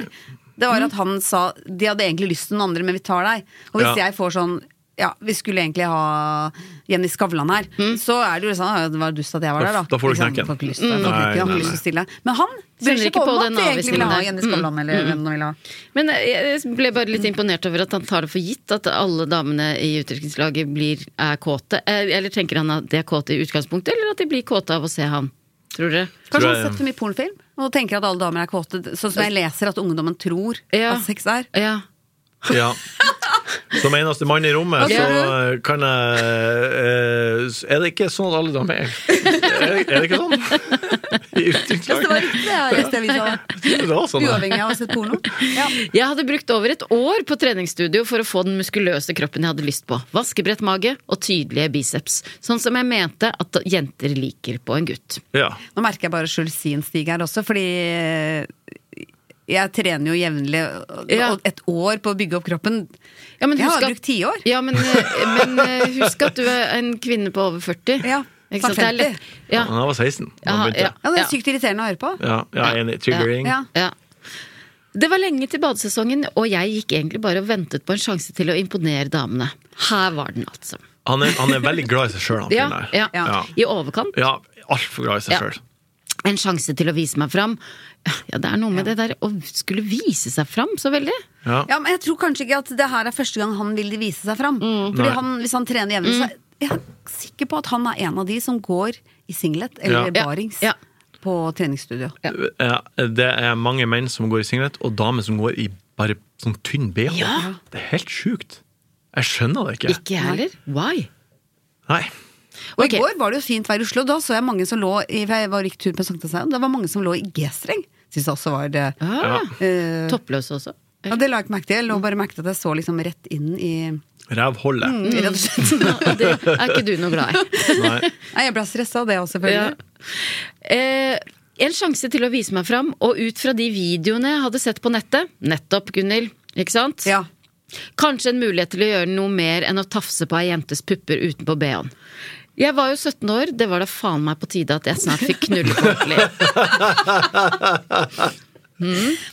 [SPEAKER 3] det
[SPEAKER 2] Mm.
[SPEAKER 3] var at han sa de hadde egentlig lyst til noen andre, men vi tar deg. Og hvis
[SPEAKER 5] Ja.
[SPEAKER 3] jeg får sånn ja, vi skulle egentlig ha Jenny Skavlan her.
[SPEAKER 2] Mm.
[SPEAKER 3] Så er det jo sånn, «Ja, det var dust at jeg var
[SPEAKER 5] Da-
[SPEAKER 3] der, da.
[SPEAKER 5] da får du
[SPEAKER 3] Ikke sant?
[SPEAKER 5] knekken.
[SPEAKER 3] Får ikke lyst til det. Får
[SPEAKER 5] Nei,
[SPEAKER 3] ikke- har
[SPEAKER 5] nei,
[SPEAKER 3] ikke lyst til å stille. Men han bryr
[SPEAKER 2] Sender
[SPEAKER 3] seg
[SPEAKER 2] ikke
[SPEAKER 3] ikke om
[SPEAKER 2] på
[SPEAKER 3] at
[SPEAKER 2] den
[SPEAKER 3] vi egentlig ville ha
[SPEAKER 2] avvisningen
[SPEAKER 3] Jenny
[SPEAKER 2] der. Mm.
[SPEAKER 3] Skavlan, eller hvem de ville ha.
[SPEAKER 2] Men jeg jeg ble bare litt imponert over at han tar det for gitt at alle damene i utdrikningslaget blir er kåte. Eh, Eller tenker han at de er kåte i utgangspunktet, eller at de blir kåte av å se han? Tror dere?
[SPEAKER 5] Tror
[SPEAKER 3] Kanskje han
[SPEAKER 5] jeg-
[SPEAKER 3] har sett for mye pornofilm og tenker at alle damer er kåte. Sånn som jeg leser at ungdommen tror
[SPEAKER 2] Ja.
[SPEAKER 3] at sex er.
[SPEAKER 2] Ja.
[SPEAKER 5] Ja. Som eneste mann i rommet, så
[SPEAKER 2] Ja.
[SPEAKER 5] eh, kan jeg eh, s- Er det ikke sånn at alle damer er? Er det, er det ikke sånn? I
[SPEAKER 3] Det var
[SPEAKER 5] utdrikningslag?
[SPEAKER 3] riktig, jeg har lest det avisa.
[SPEAKER 5] Det var sånn. ja.
[SPEAKER 3] Uavhengig av å ha sett porno. Ja.
[SPEAKER 2] Jeg hadde brukt over et år på treningsstudio for å få den muskuløse kroppen jeg hadde lyst på. Vaskebrett mage og tydelige biceps. Sånn som jeg mente at jenter liker på en gutt.
[SPEAKER 5] Ja.
[SPEAKER 3] Nå merker jeg bare skyld sin stig her også, fordi eh, jeg trener jo jevnlig, og-
[SPEAKER 2] Ja.
[SPEAKER 3] og et år på å bygge opp kroppen.
[SPEAKER 2] Ja, men
[SPEAKER 3] jeg
[SPEAKER 2] husk
[SPEAKER 3] har
[SPEAKER 2] at-
[SPEAKER 3] brukt tiår.
[SPEAKER 2] Ja, men, eh, men eh, husk at du er en kvinne på over 40.
[SPEAKER 3] Ja,
[SPEAKER 2] Ikke sant? Det er lett. Ja.
[SPEAKER 5] Han var 16 da han
[SPEAKER 2] Aha,
[SPEAKER 5] begynte.
[SPEAKER 3] Ja, det er
[SPEAKER 2] Ja.
[SPEAKER 3] sykt irriterende å høre på.
[SPEAKER 5] Ja, ja, enig. Triggering.
[SPEAKER 3] Ja.
[SPEAKER 2] Ja. Det var lenge til badesesongen, og jeg gikk egentlig bare og ventet på en sjanse til å imponere damene. Her var den, altså.
[SPEAKER 5] Han er, han er veldig glad i seg sjøl, han
[SPEAKER 2] Ja,
[SPEAKER 5] fyren
[SPEAKER 2] ja.
[SPEAKER 5] der. Ja.
[SPEAKER 2] I overkant.
[SPEAKER 5] Ja, altfor glad i seg
[SPEAKER 2] Ja.
[SPEAKER 5] sjøl.
[SPEAKER 2] En sjanse til å vise meg fram. Ja, det er noe med det der å skulle vise seg fram så veldig.
[SPEAKER 5] Ja.
[SPEAKER 3] Ja, men jeg tror kanskje ikke at det her er første gang han vil vise seg fram.
[SPEAKER 2] Mm.
[SPEAKER 3] Fordi
[SPEAKER 5] Nei.
[SPEAKER 3] han, hvis han trener jevnlig, så er jeg er sikker på at han er en av de som går i singlet
[SPEAKER 5] Ja.
[SPEAKER 3] eller barings
[SPEAKER 2] Ja.
[SPEAKER 3] på treningsstudio.
[SPEAKER 5] Ja, Det er mange menn som går i singlet, og damer som går i bare sånn tynn bh.
[SPEAKER 2] Ja.
[SPEAKER 5] Det er helt sjukt. Jeg skjønner det ikke.
[SPEAKER 2] Ikke jeg heller. Why?
[SPEAKER 5] Nei.
[SPEAKER 3] Og
[SPEAKER 2] Ok.
[SPEAKER 3] i går var det jo fint vær i Oslo. Da så jeg mange som lå i, jeg var gikk tur på Sankthanshaugen, det var mange som lå i G-streng. Syns jeg også var det.
[SPEAKER 2] Ah,
[SPEAKER 3] eh,
[SPEAKER 2] Toppløs også.
[SPEAKER 3] Ja, det la jeg ikke merke til. Jeg lå bare merke til at jeg så liksom rett inn i
[SPEAKER 5] Rævholdet.
[SPEAKER 3] Rett og slett.
[SPEAKER 2] Og det er ikke du noe glad i.
[SPEAKER 5] Nei.
[SPEAKER 3] Nei, jeg ble stressa av det også,
[SPEAKER 2] Ja.
[SPEAKER 3] selvfølgelig.
[SPEAKER 2] Eh, en sjanse til å vise meg fram, og ut fra de videoene jeg hadde sett på nettet Nettopp, Gunhild. Ikke sant?
[SPEAKER 3] Ja.
[SPEAKER 2] Kanskje en mulighet til å gjøre noe mer enn å tafse på ei jentes pupper utenpå BH-en. Jeg var jo 17 år, det var da faen meg på tide at jeg snart fikk knulle på ordentlig.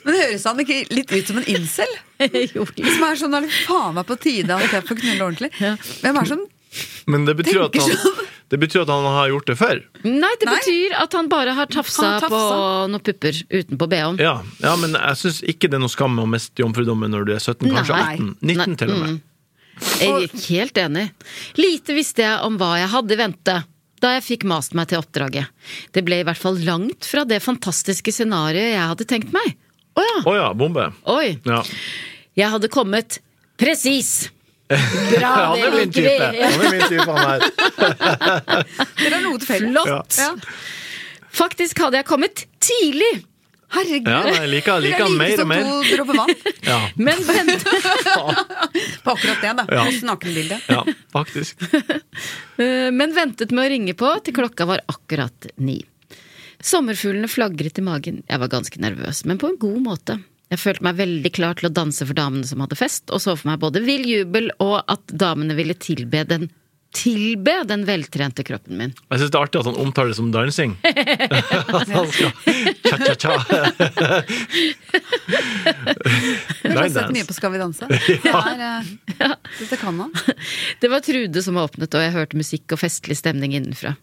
[SPEAKER 3] Men høres han ikke litt ut som en incel?
[SPEAKER 2] Jo.
[SPEAKER 3] Som er sånn nå er det faen meg på tide at jeg får knulle ordentlig. Hvem er det som
[SPEAKER 5] Men det betyr, at
[SPEAKER 3] Tenker
[SPEAKER 5] han,
[SPEAKER 2] sånn.
[SPEAKER 5] det betyr at han har gjort det før.
[SPEAKER 2] Nei, det
[SPEAKER 3] Nei.
[SPEAKER 2] betyr at han bare har tafsa,
[SPEAKER 3] Han har tafsa.
[SPEAKER 2] på noen pupper utenpå BH-en.
[SPEAKER 5] Ja, ja men jeg syns ikke det er noe skam å miste jomfrudommen når du er 17, kanskje
[SPEAKER 2] Nei. Mm.
[SPEAKER 5] 18. 19
[SPEAKER 2] Nei.
[SPEAKER 5] til og med.
[SPEAKER 2] Jeg er helt enig. Lite visste jeg om hva jeg hadde i vente da jeg fikk mast meg til oppdraget. Det ble i hvert fall langt fra det fantastiske scenarioet jeg hadde tenkt meg. Å ja!
[SPEAKER 5] Å ja, bombe.
[SPEAKER 2] Oi!
[SPEAKER 5] Ja.
[SPEAKER 2] Jeg hadde kommet presis! Bra,
[SPEAKER 5] han er min type! Han er min type, han her.
[SPEAKER 3] Dere har noe til felles.
[SPEAKER 2] Flott!
[SPEAKER 3] Ja.
[SPEAKER 2] Faktisk hadde jeg kommet tidlig,
[SPEAKER 3] Herregud.
[SPEAKER 5] Ja, nei, jeg liker- liker han mer og mer.
[SPEAKER 3] Dere er like som to dråper vann
[SPEAKER 5] Ja,
[SPEAKER 2] men vente
[SPEAKER 3] på akkurat det, da.
[SPEAKER 5] Ja.
[SPEAKER 3] Nakenbildet.
[SPEAKER 5] ja faktisk.
[SPEAKER 2] Eh, Men ventet med å ringe på til klokka var akkurat ni. Sommerfuglene flagret i magen. Jeg var ganske nervøs, men på en god måte. Jeg følte meg veldig klar til å danse for damene som hadde fest, og så for meg både vill jubel og at damene ville tilbe den Tilbe den veltrente kroppen min.
[SPEAKER 5] Jeg syns det er artig at han omtaler det som dansing. At han skal tja-tja-tja.
[SPEAKER 3] Jeg har sett
[SPEAKER 5] dance.
[SPEAKER 3] mye på Skal vi danse. Det er, eh, Dette kan han.
[SPEAKER 2] Det var Trude som åpnet, og jeg hørte musikk og festlig stemning innenfra.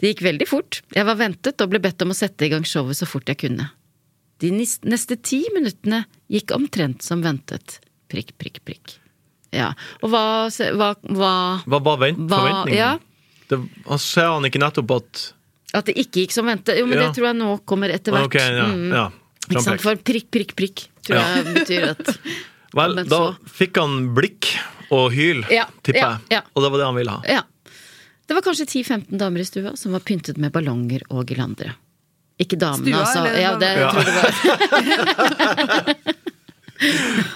[SPEAKER 2] Det gikk veldig fort. Jeg var ventet og ble bedt om å sette i gang showet så fort jeg kunne. De nis- neste ti minuttene gikk omtrent som ventet. Prikk, prikk, prikk. Ja. Og hva, hva, hva
[SPEAKER 5] Hva var vent,
[SPEAKER 2] Hva-
[SPEAKER 5] forventningen?
[SPEAKER 2] ja.
[SPEAKER 5] Det, han sa han ikke nettopp at
[SPEAKER 2] At det ikke gikk som ventet. Jo, men
[SPEAKER 5] Ja.
[SPEAKER 2] det tror jeg nå kommer etter hvert.
[SPEAKER 5] Ok, ja,
[SPEAKER 2] Mm.
[SPEAKER 5] ja.
[SPEAKER 2] Ikke sant? For prikk, prikk, prikk tror
[SPEAKER 5] Ja.
[SPEAKER 2] jeg betyr at
[SPEAKER 5] Vel,
[SPEAKER 2] men
[SPEAKER 5] da
[SPEAKER 2] så-
[SPEAKER 5] fikk han blikk og hyl,
[SPEAKER 2] Ja,
[SPEAKER 5] tipper
[SPEAKER 2] ja,
[SPEAKER 5] jeg.
[SPEAKER 2] ja.
[SPEAKER 5] Og det var det han ville ha.
[SPEAKER 2] Ja. Det var kanskje 10-15 damer i stua som var pyntet med ballonger og girlandere. Ikke damene,
[SPEAKER 3] Stua,
[SPEAKER 2] altså.
[SPEAKER 3] eller-
[SPEAKER 2] Ja, det, jeg
[SPEAKER 5] Ja.
[SPEAKER 2] tror det var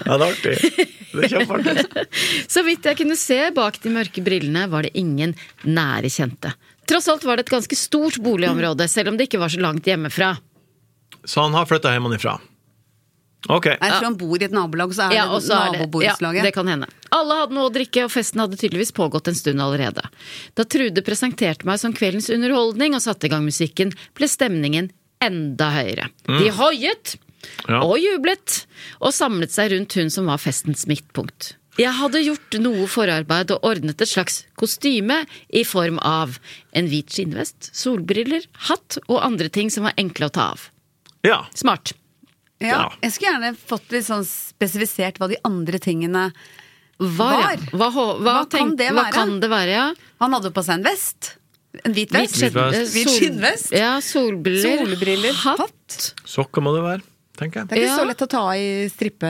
[SPEAKER 5] Ja, det er artig. Det er kjempeartig.
[SPEAKER 2] Så vidt jeg kunne se bak de mørke brillene, var det ingen nære kjente. Tross alt var det et ganske stort boligområde, selv om det ikke var så langt hjemmefra.
[SPEAKER 5] Så han har flytta hjemmefra. Ok.
[SPEAKER 3] Nei, Jeg tror han bor i et nabolag, så er
[SPEAKER 2] Ja, og
[SPEAKER 3] det
[SPEAKER 2] så er det- Ja, det
[SPEAKER 3] naboborettslaget.
[SPEAKER 2] kan hende. Alle hadde noe å drikke, og festen hadde tydeligvis pågått en stund allerede. Da Trude presenterte meg som kveldens underholdning og satte i gang musikken, ble stemningen enda høyere. De hoiet
[SPEAKER 5] Ja.
[SPEAKER 2] og jublet, og samlet seg rundt hun som var festens midtpunkt. Jeg hadde gjort noe forarbeid og ordnet et slags kostyme i form av en hvit skinnvest, solbriller, hatt og andre ting som var enkle å ta av.
[SPEAKER 5] Ja.
[SPEAKER 2] Smart.
[SPEAKER 3] ja,
[SPEAKER 5] Ja.
[SPEAKER 3] jeg skulle gjerne fått litt sånn spesifisert hva de andre tingene
[SPEAKER 2] Var, ja. Hva, hva, hva,
[SPEAKER 3] Hva kan
[SPEAKER 2] tenk-
[SPEAKER 3] det
[SPEAKER 2] hva
[SPEAKER 3] være?
[SPEAKER 2] kan det være? Ja?
[SPEAKER 3] Han hadde jo på seg en vest. En hvit
[SPEAKER 2] Hvit
[SPEAKER 3] vest.
[SPEAKER 5] skjedd-
[SPEAKER 2] skinn-
[SPEAKER 5] vest.
[SPEAKER 3] Hvit
[SPEAKER 2] sol-
[SPEAKER 3] skinnvest.
[SPEAKER 2] Ja, solbriller.
[SPEAKER 3] Solbriller, hatt.
[SPEAKER 5] Sokker må det være, tenker
[SPEAKER 3] Det
[SPEAKER 5] jeg.
[SPEAKER 3] er ikke
[SPEAKER 2] Ja.
[SPEAKER 3] så lett å ta i strippe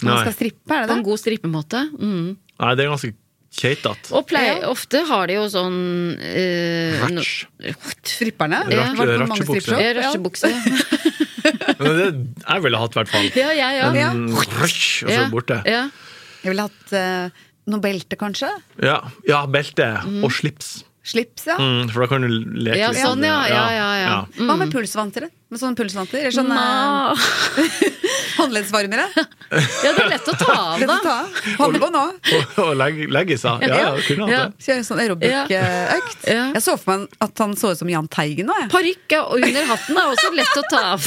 [SPEAKER 3] når man
[SPEAKER 5] Nei.
[SPEAKER 3] skal strippe, er
[SPEAKER 2] På
[SPEAKER 3] det
[SPEAKER 2] en
[SPEAKER 3] det?
[SPEAKER 2] god strippemåte. Mm.
[SPEAKER 5] Nei, det er ganske keitete.
[SPEAKER 2] Og pleier, ofte har de jo sånn eh, no-
[SPEAKER 5] Ratch.
[SPEAKER 2] What?
[SPEAKER 3] Stripperne?
[SPEAKER 5] Ratche-
[SPEAKER 3] Vært på mange
[SPEAKER 5] ratchebukse.
[SPEAKER 3] strippshop?
[SPEAKER 2] Ja,
[SPEAKER 3] Ja.
[SPEAKER 2] Rusjebukse.
[SPEAKER 5] Men det jeg ville hatt, i hvert fall.
[SPEAKER 2] Ja, jeg òg.
[SPEAKER 3] Ja.
[SPEAKER 5] En rush, og så
[SPEAKER 2] Ja.
[SPEAKER 5] borte.
[SPEAKER 2] Ja.
[SPEAKER 3] Jeg ville hatt eh, noe belte, kanskje.
[SPEAKER 5] Ja, ja belte og slips.
[SPEAKER 3] Slips, ja.
[SPEAKER 5] Mm, for da kan du leke
[SPEAKER 2] Mm. Ja,
[SPEAKER 5] litt.
[SPEAKER 2] sånn,
[SPEAKER 5] med det.
[SPEAKER 2] ja, ja, ja, Mm. ja.
[SPEAKER 3] Hva med pulsvantere? Med sånne pulsvanter? Eller sånne
[SPEAKER 2] Ma.
[SPEAKER 3] håndleddsvarmere?
[SPEAKER 2] ja, det er lett å ta av,
[SPEAKER 3] Lett å
[SPEAKER 2] da.
[SPEAKER 3] ta av. Holde på nå.
[SPEAKER 5] Og, og legge, legge seg. Ja, ja, kunne
[SPEAKER 2] Ja.
[SPEAKER 5] hatt det.
[SPEAKER 3] Kjøre sånn aerobic-økt.
[SPEAKER 2] Ja.
[SPEAKER 3] Jeg så for meg at han så ut som Jahn Teigen nå. Jeg.
[SPEAKER 2] Parykk er- og under hatten er også lett å ta av.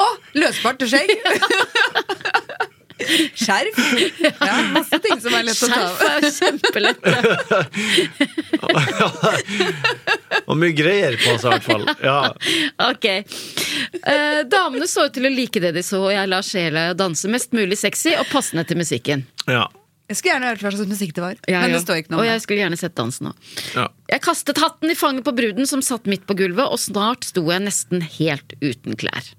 [SPEAKER 3] Å, løsbart og skjegg! Skjerf. Ja, masse ting som er lett å ta
[SPEAKER 2] Skjerf
[SPEAKER 3] av.
[SPEAKER 2] er kjempelett.
[SPEAKER 5] Og mye greier på seg, i hvert fall. Ja.
[SPEAKER 2] Ok. Eh, damene så ut til å like det de så, og jeg la sjela danse mest mulig sexy og passende til musikken.
[SPEAKER 5] Ja.
[SPEAKER 3] Jeg skulle gjerne hørt hva slags musikk det var,
[SPEAKER 2] Jeg
[SPEAKER 3] men det
[SPEAKER 2] òg.
[SPEAKER 3] står ikke noe
[SPEAKER 2] og
[SPEAKER 3] om
[SPEAKER 2] jeg
[SPEAKER 3] det.
[SPEAKER 2] skulle gjerne sett dansen òg.
[SPEAKER 5] ja.
[SPEAKER 2] Jeg kastet hatten i fanget på bruden som satt midt på gulvet, og snart sto jeg nesten helt uten klær.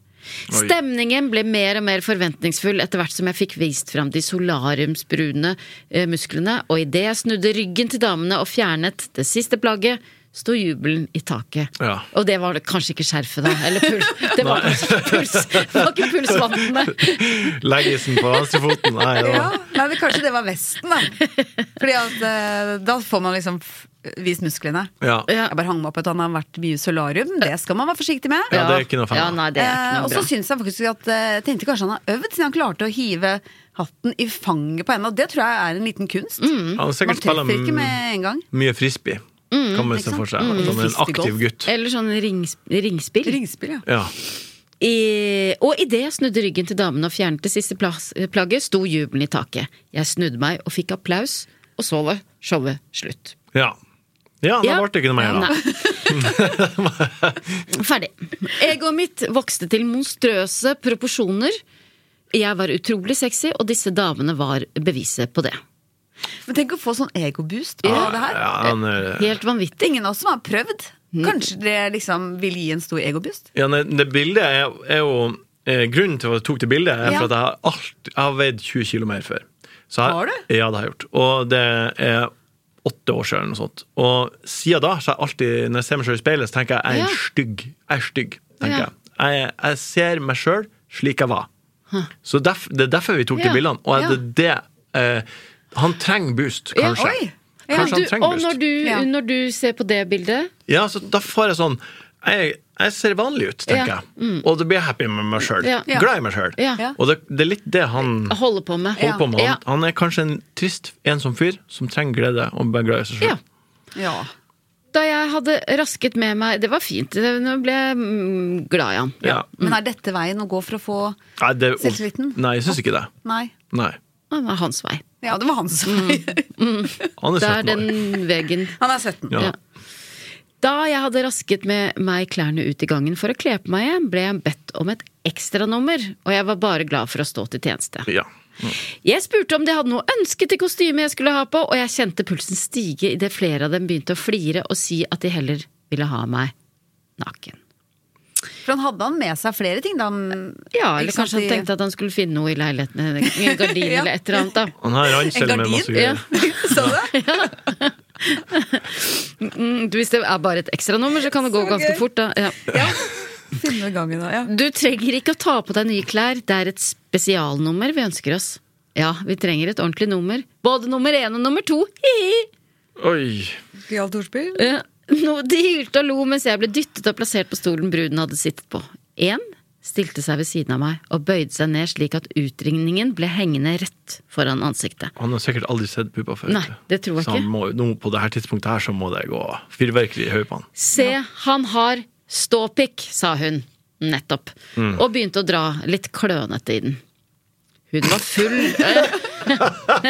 [SPEAKER 5] Oi.
[SPEAKER 2] Stemningen ble mer og mer forventningsfull etter hvert som jeg fikk vist fram de solariumsbrune eh, musklene, og idet jeg snudde ryggen til damene og fjernet det siste plagget, sto jubelen i taket.
[SPEAKER 5] Ja.
[SPEAKER 2] Og det var det kanskje ikke skjerfet, da. Eller puls. Det var kanskje ikke puls. Det var ikke pulsvantene.
[SPEAKER 5] Leggisen på venstrefoten. Nei, det
[SPEAKER 3] Ja,
[SPEAKER 5] var
[SPEAKER 3] nei, men Kanskje det var vesten, da. Fordi at eh, da får man liksom f- vist musklene.
[SPEAKER 5] ja. Ja.
[SPEAKER 2] Ja.
[SPEAKER 3] Jeg bare hang meg opp at han har vært mye i solarium. Det skal man være forsiktig med.
[SPEAKER 5] Ja, det er ikke noe fan
[SPEAKER 2] Ja,
[SPEAKER 5] av.
[SPEAKER 2] nei, det er ikke
[SPEAKER 3] Eh,
[SPEAKER 2] noe
[SPEAKER 3] og så
[SPEAKER 2] bra.
[SPEAKER 3] syns jeg faktisk at eh, jeg tenkte kanskje han har øvd, siden han klarte å hive hatten i fanget på henne. Og det tror jeg er en liten kunst.
[SPEAKER 2] Mm.
[SPEAKER 5] Han har
[SPEAKER 3] Man
[SPEAKER 5] sikkert
[SPEAKER 3] treffer ikke
[SPEAKER 5] spiller
[SPEAKER 3] med Mm, en gang.
[SPEAKER 5] mye frisbee, kan man se for seg. At han er en aktiv gutt.
[SPEAKER 2] Eller sånn rings, ringspill.
[SPEAKER 3] Ringspill, ja.
[SPEAKER 5] Ja.
[SPEAKER 2] I, og idet jeg snudde ryggen til damene og fjernet det siste plass, plagget, sto jubelen i taket. Jeg snudde meg og fikk applaus, og så var showet slutt.
[SPEAKER 5] Ja, ja da
[SPEAKER 2] Ja.
[SPEAKER 5] ble det ikke noe mer, da.
[SPEAKER 2] Nei. Ferdig. Egoet mitt vokste til monstrøse proporsjoner. Jeg var utrolig sexy, og disse damene var beviset på det.
[SPEAKER 3] Men tenk å få sånn egoboost av det her.
[SPEAKER 5] Ja, han er-
[SPEAKER 2] Helt vanvittig.
[SPEAKER 3] Det er ingen av oss som har prøvd.
[SPEAKER 2] Mm.
[SPEAKER 3] Kanskje det liksom vil gi en stor egoboost?
[SPEAKER 5] Ja, nei, det bildet er, er jo eh, Grunnen til at jeg tok det bildet, er
[SPEAKER 3] Ja.
[SPEAKER 5] for at jeg har, alt, jeg har veid 20 kg mer før. Så jeg-
[SPEAKER 3] Har du?
[SPEAKER 5] Ja, det har jeg gjort. Og det er åtte år siden, eller noe sånt. Og siden da, så har jeg alltid, når jeg ser meg selv i speilet, så tenker jeg jeg er
[SPEAKER 2] Ja.
[SPEAKER 5] en stygg. Jeg er stygg, tenker
[SPEAKER 2] Ja.
[SPEAKER 5] jeg. jeg. Jeg ser meg sjøl slik jeg var. Så derf, Det er derfor vi tok
[SPEAKER 2] Ja.
[SPEAKER 5] de bildene. Og
[SPEAKER 2] Ja.
[SPEAKER 5] er det det eh, Han trenger boost,
[SPEAKER 2] Ja.
[SPEAKER 5] kanskje.
[SPEAKER 3] Oi!
[SPEAKER 5] Kanskje
[SPEAKER 2] Du,
[SPEAKER 5] han trenger
[SPEAKER 2] og
[SPEAKER 5] boost.
[SPEAKER 2] når du,
[SPEAKER 3] Ja.
[SPEAKER 2] når du ser på det bildet
[SPEAKER 5] Ja, så da får jeg sånn jeg, jeg ser vanlig ut, tenker
[SPEAKER 2] Ja, Mm.
[SPEAKER 5] jeg. Og da blir jeg happy med meg sjøl.
[SPEAKER 2] Ja.
[SPEAKER 3] Ja.
[SPEAKER 5] Glad i meg sjøl.
[SPEAKER 2] Ja.
[SPEAKER 5] Og det, det er litt det han
[SPEAKER 2] Holder på med.
[SPEAKER 5] holder på med.
[SPEAKER 2] Ja.
[SPEAKER 5] Han, han er kanskje en trist, ensom fyr som trenger glede og bare glad i seg sjøl.
[SPEAKER 2] Ja.
[SPEAKER 3] Ja.
[SPEAKER 2] Da jeg hadde rasket med meg Det var fint. det- Nå ble jeg mm, glad i han.
[SPEAKER 5] Ja.
[SPEAKER 3] Men
[SPEAKER 2] Mm.
[SPEAKER 3] er dette veien å gå for å få
[SPEAKER 5] Nei, det, er-
[SPEAKER 3] Selvtilliten?
[SPEAKER 5] Nei, jeg syns ikke det.
[SPEAKER 3] Nei.
[SPEAKER 5] Nei.
[SPEAKER 2] Det var hans vei.
[SPEAKER 3] Ja, det var han som
[SPEAKER 2] Mm.
[SPEAKER 5] Han er
[SPEAKER 2] Det er
[SPEAKER 5] 17 år.
[SPEAKER 2] den veggen.
[SPEAKER 3] Han er 17.
[SPEAKER 5] Ja.
[SPEAKER 2] Ja. Da jeg hadde rasket med meg klærne ut i gangen for å kle på meg igjen, ble jeg bedt om et ekstranummer, og jeg var bare glad for å stå til tjeneste.
[SPEAKER 5] Ja.
[SPEAKER 2] Jeg spurte om de hadde noe ønske til kostyme jeg skulle ha på, og jeg kjente pulsen stige idet flere av dem begynte å flire og si at de heller ville ha meg naken.
[SPEAKER 3] For han hadde han med seg flere ting, da. mm,
[SPEAKER 2] Ja, eller
[SPEAKER 3] Ikke sant,
[SPEAKER 2] kanskje han
[SPEAKER 3] de-
[SPEAKER 2] tenkte at han skulle finne noe i leiligheten, en gardin
[SPEAKER 3] Ja.
[SPEAKER 2] eller et eller annet, da.
[SPEAKER 5] Han har ransel
[SPEAKER 3] En
[SPEAKER 5] med
[SPEAKER 3] gardin?
[SPEAKER 5] masse greier.
[SPEAKER 3] Så du det?
[SPEAKER 2] Mm, Hvis det er bare et ekstranummer, så kan det gå
[SPEAKER 3] Så
[SPEAKER 2] ganske
[SPEAKER 3] gøy.
[SPEAKER 2] fort, da. Ja.
[SPEAKER 3] Ja. Finne gangen, da. Ja.
[SPEAKER 2] Du trenger ikke å ta på deg nye klær, det er et spesialnummer vi ønsker oss. Ja, vi trenger et ordentlig nummer. Både nummer én og nummer to. Hihi.
[SPEAKER 5] Oi.
[SPEAKER 3] Gøyalt ordspill.
[SPEAKER 2] Eh, no- De hylte og lo mens jeg ble dyttet og plassert på stolen bruden hadde sittet på. Én stilte seg ved siden av meg og bøyde seg ned slik at utringningen ble hengende rett foran ansiktet.
[SPEAKER 5] Han har sikkert aldri sett puppa før.
[SPEAKER 2] Nei, det tror jeg
[SPEAKER 5] så han
[SPEAKER 2] ikke.
[SPEAKER 5] Må, nå, på det her tidspunktet her så må det gå fyrverkeri i hodet på han.
[SPEAKER 2] Se, han har ståpikk, sa hun. Nettopp. Og begynte å dra litt klønete i den. Hun var full. eh,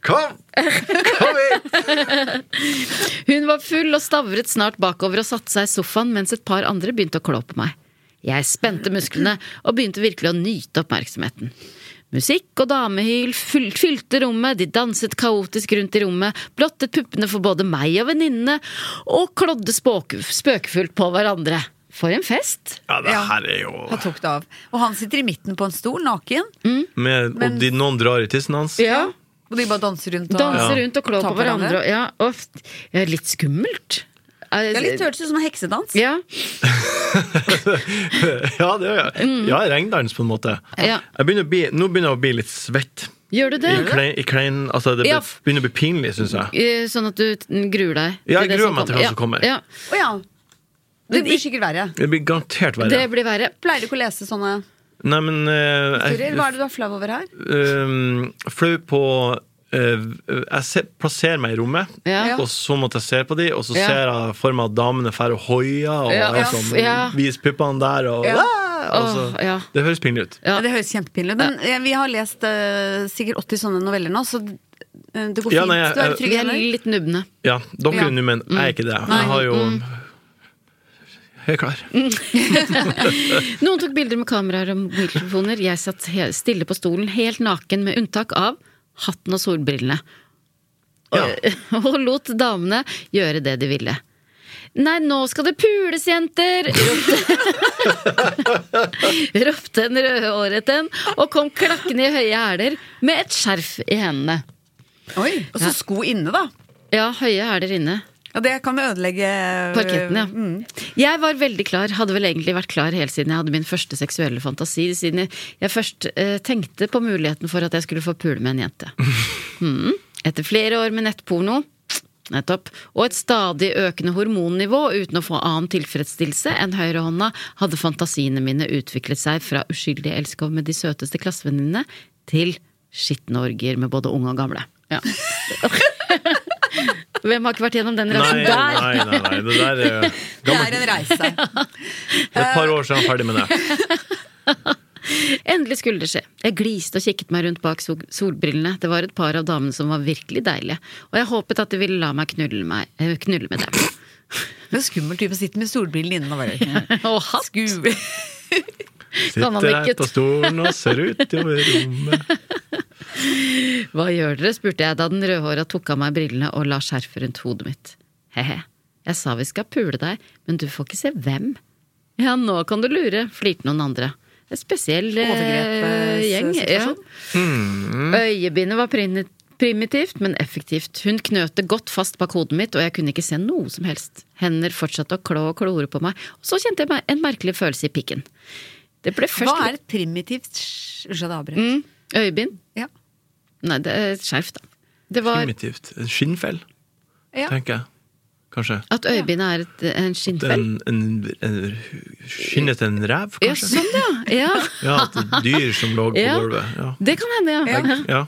[SPEAKER 5] Kom! Kom hit!
[SPEAKER 2] Hun var full og stavret snart bakover og satte seg i sofaen mens et par andre begynte å klå på meg. Jeg spente musklene og begynte virkelig å nyte oppmerksomheten. Musikk og damehyl fyl- fylte rommet, de danset kaotisk rundt i rommet, blottet puppene for både meg og venninnene, og klådde spåk- spøkefullt på hverandre. For en fest!
[SPEAKER 5] Ja, det
[SPEAKER 3] Ja.
[SPEAKER 5] her er jo
[SPEAKER 3] Han tok det av. Og han sitter i midten på en stol, naken.
[SPEAKER 5] Med, Og de, noen drar i tissen hans.
[SPEAKER 2] Ja,
[SPEAKER 3] Og de bare danser rundt. Og...
[SPEAKER 2] Danse
[SPEAKER 5] Ja.
[SPEAKER 2] rundt og klå
[SPEAKER 3] Ta
[SPEAKER 2] på
[SPEAKER 3] på
[SPEAKER 2] hverandre.
[SPEAKER 3] hverandre.
[SPEAKER 2] og- Ja, og f- ja, litt skummelt. Eh,
[SPEAKER 3] Det er litt hørtes ut som en heksedans.
[SPEAKER 2] Ja,
[SPEAKER 5] Ja, det gjør jeg. Ja, regndans på en måte.
[SPEAKER 2] Mm. Ja.
[SPEAKER 5] Jeg begynner å bli, nå begynner jeg å bli litt svett.
[SPEAKER 2] gjør du
[SPEAKER 5] I
[SPEAKER 2] det?
[SPEAKER 5] klein, i klein, altså det
[SPEAKER 2] Ja.
[SPEAKER 5] be- begynner å bli pinlig, syns jeg.
[SPEAKER 2] Eh, Sånn at du t- gruer deg?
[SPEAKER 5] Ja, jeg
[SPEAKER 2] til det
[SPEAKER 5] gruer
[SPEAKER 2] som
[SPEAKER 5] meg til hva som kommer.
[SPEAKER 2] Ja,
[SPEAKER 3] Å ja. Det blir sikkert verre.
[SPEAKER 5] Det blir garantert
[SPEAKER 2] ja.
[SPEAKER 5] verre.
[SPEAKER 2] Det blir verre.
[SPEAKER 3] Pleier du ikke å lese sånne
[SPEAKER 5] Nei, men eh,
[SPEAKER 3] historier? Hva
[SPEAKER 5] jeg,
[SPEAKER 3] er det du er flau over her?
[SPEAKER 5] um, flau på eh, Jeg ser, plasserer meg i rommet,
[SPEAKER 2] Ja.
[SPEAKER 5] og så måtte jeg se på de, og så
[SPEAKER 2] Ja.
[SPEAKER 5] ser jeg for meg at damene drar og hoier og
[SPEAKER 2] Ja,
[SPEAKER 5] er
[SPEAKER 2] ja,
[SPEAKER 5] sånn,
[SPEAKER 2] ja.
[SPEAKER 5] viser puppene der og,
[SPEAKER 3] Ja.
[SPEAKER 5] Ah, og så-
[SPEAKER 2] Åh, ja.
[SPEAKER 5] Det høres pinlig ut.
[SPEAKER 2] Ja.
[SPEAKER 3] Det høres kjempepinlig ut. Men eh, vi har lest eh, sikkert 80 sånne noveller nå, så eh, det går fint.
[SPEAKER 5] Ja, nei, jeg-
[SPEAKER 3] du er i
[SPEAKER 5] jeg-
[SPEAKER 2] Vi
[SPEAKER 3] trygge
[SPEAKER 2] er
[SPEAKER 3] hender.
[SPEAKER 2] litt nubne.
[SPEAKER 5] Ja, dere
[SPEAKER 3] Ja.
[SPEAKER 5] er nå, men jeg er ikke det.
[SPEAKER 3] Nei.
[SPEAKER 5] Jeg har jo
[SPEAKER 2] Mm.
[SPEAKER 5] Jeg er klar.
[SPEAKER 2] Noen tok bilder med kameraer og mobiltelefoner. Jeg satt he- stille på stolen, helt naken, med unntak av hatten og solbrillene.
[SPEAKER 5] Ja.
[SPEAKER 2] Og lot damene gjøre det de ville. Nei, nå skal det pules, jenter! ropte- Ropte en rødhåret en, og kom klakkende i høye hæler med et skjerf i hendene.
[SPEAKER 3] Oi, Og så sko inne, da.
[SPEAKER 2] Ja, høye hæler inne.
[SPEAKER 3] Ja, det kan jo ødelegge eh,
[SPEAKER 2] Parketten, ja. Mm. Jeg var veldig klar, hadde vel egentlig vært klar helt siden jeg hadde min første seksuelle fantasi, siden jeg, jeg først eh, tenkte på muligheten for at jeg skulle få pule med en jente. Mm. Etter flere år med nettporno, nettopp, og et stadig økende hormonnivå uten å få annen tilfredsstillelse enn høyrehånda, hadde fantasiene mine utviklet seg fra uskyldig elskov med de søteste klassevenninnene til skitne orgier med både unge og gamle. Ja. Hvem har ikke vært gjennom den
[SPEAKER 5] Nei,
[SPEAKER 2] reisen der?
[SPEAKER 5] nei, nei, nei. Det der er
[SPEAKER 3] Det
[SPEAKER 5] gammelt.
[SPEAKER 3] er en reise.
[SPEAKER 5] Det er et par år siden jeg er ferdig med det.
[SPEAKER 2] Endelig skulle det skje. Jeg gliste og kikket meg rundt bak sol- solbrillene. Det var et par av damene som var virkelig deilige, og jeg håpet at de ville la meg knulle, meg, eh, knulle med dem.
[SPEAKER 3] Det er skummel type å sitte med solbrillene inne. og bare-
[SPEAKER 2] Og hatt!
[SPEAKER 3] Sku-
[SPEAKER 2] Kan han
[SPEAKER 5] Sitter her
[SPEAKER 2] ikke-
[SPEAKER 5] på stolen og ser utover rommet.
[SPEAKER 2] Hva gjør dere? spurte jeg da den rødhåra tok av meg brillene og la skjerfet rundt hodet mitt. He-he, jeg sa vi skal pule deg, men du får ikke se hvem. Ja, nå kan du lure, flirte noen andre. En spesiell eh, gjeng. Ja.
[SPEAKER 3] Overgrepssituasjon.
[SPEAKER 2] Øyebindet var primi- primitivt, men effektivt. Hun knøt det godt fast bak hodet mitt, og jeg kunne ikke se noe som helst. Hender fortsatte å klå og klore på meg, og så kjente jeg meg en merkelig følelse i pikken. Det ble først
[SPEAKER 3] Hva er et primitivt Hysj, Unnskyld at jeg avbrøt.
[SPEAKER 2] Øyebind?
[SPEAKER 3] Ja.
[SPEAKER 2] Nei, det er et skjerf, da. Det var
[SPEAKER 5] primitivt. En skinnfell,
[SPEAKER 3] Ja.
[SPEAKER 5] tenker jeg. Kanskje.
[SPEAKER 2] at øyebind er et, en skinnfell.
[SPEAKER 5] En, en, en, skinnet en rev,
[SPEAKER 2] Ja,
[SPEAKER 5] kanskje?
[SPEAKER 2] sånn, ja. ja.
[SPEAKER 5] Ja, at et dyr som lå på
[SPEAKER 2] Ja.
[SPEAKER 5] gulvet. Ja.
[SPEAKER 2] Det kan hende, ja.
[SPEAKER 5] Ja.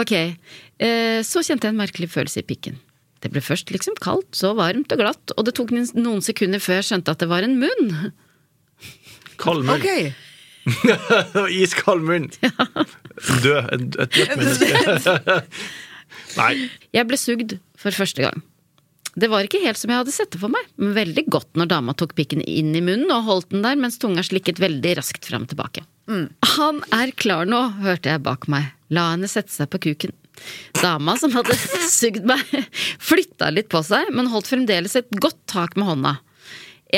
[SPEAKER 2] Ok. Eh, Så kjente jeg en merkelig følelse i pikken. Det ble først liksom kaldt, så varmt og glatt, og det tok min- noen sekunder før jeg skjønte at det var en munn.
[SPEAKER 5] Kald munn.
[SPEAKER 3] Ok!
[SPEAKER 5] Iskald munn. Død. Et, et dødt menneske. Nei.
[SPEAKER 2] Jeg ble sugd for første gang. Det var ikke helt som jeg hadde sett det for meg, men veldig godt når dama tok pikken inn i munnen og holdt den der mens tunga slikket veldig raskt fram og tilbake. Han er klar nå, hørte jeg bak meg. La henne sette seg på kuken. Dama som hadde sugd meg, flytta litt på seg, men holdt fremdeles et godt tak med hånda.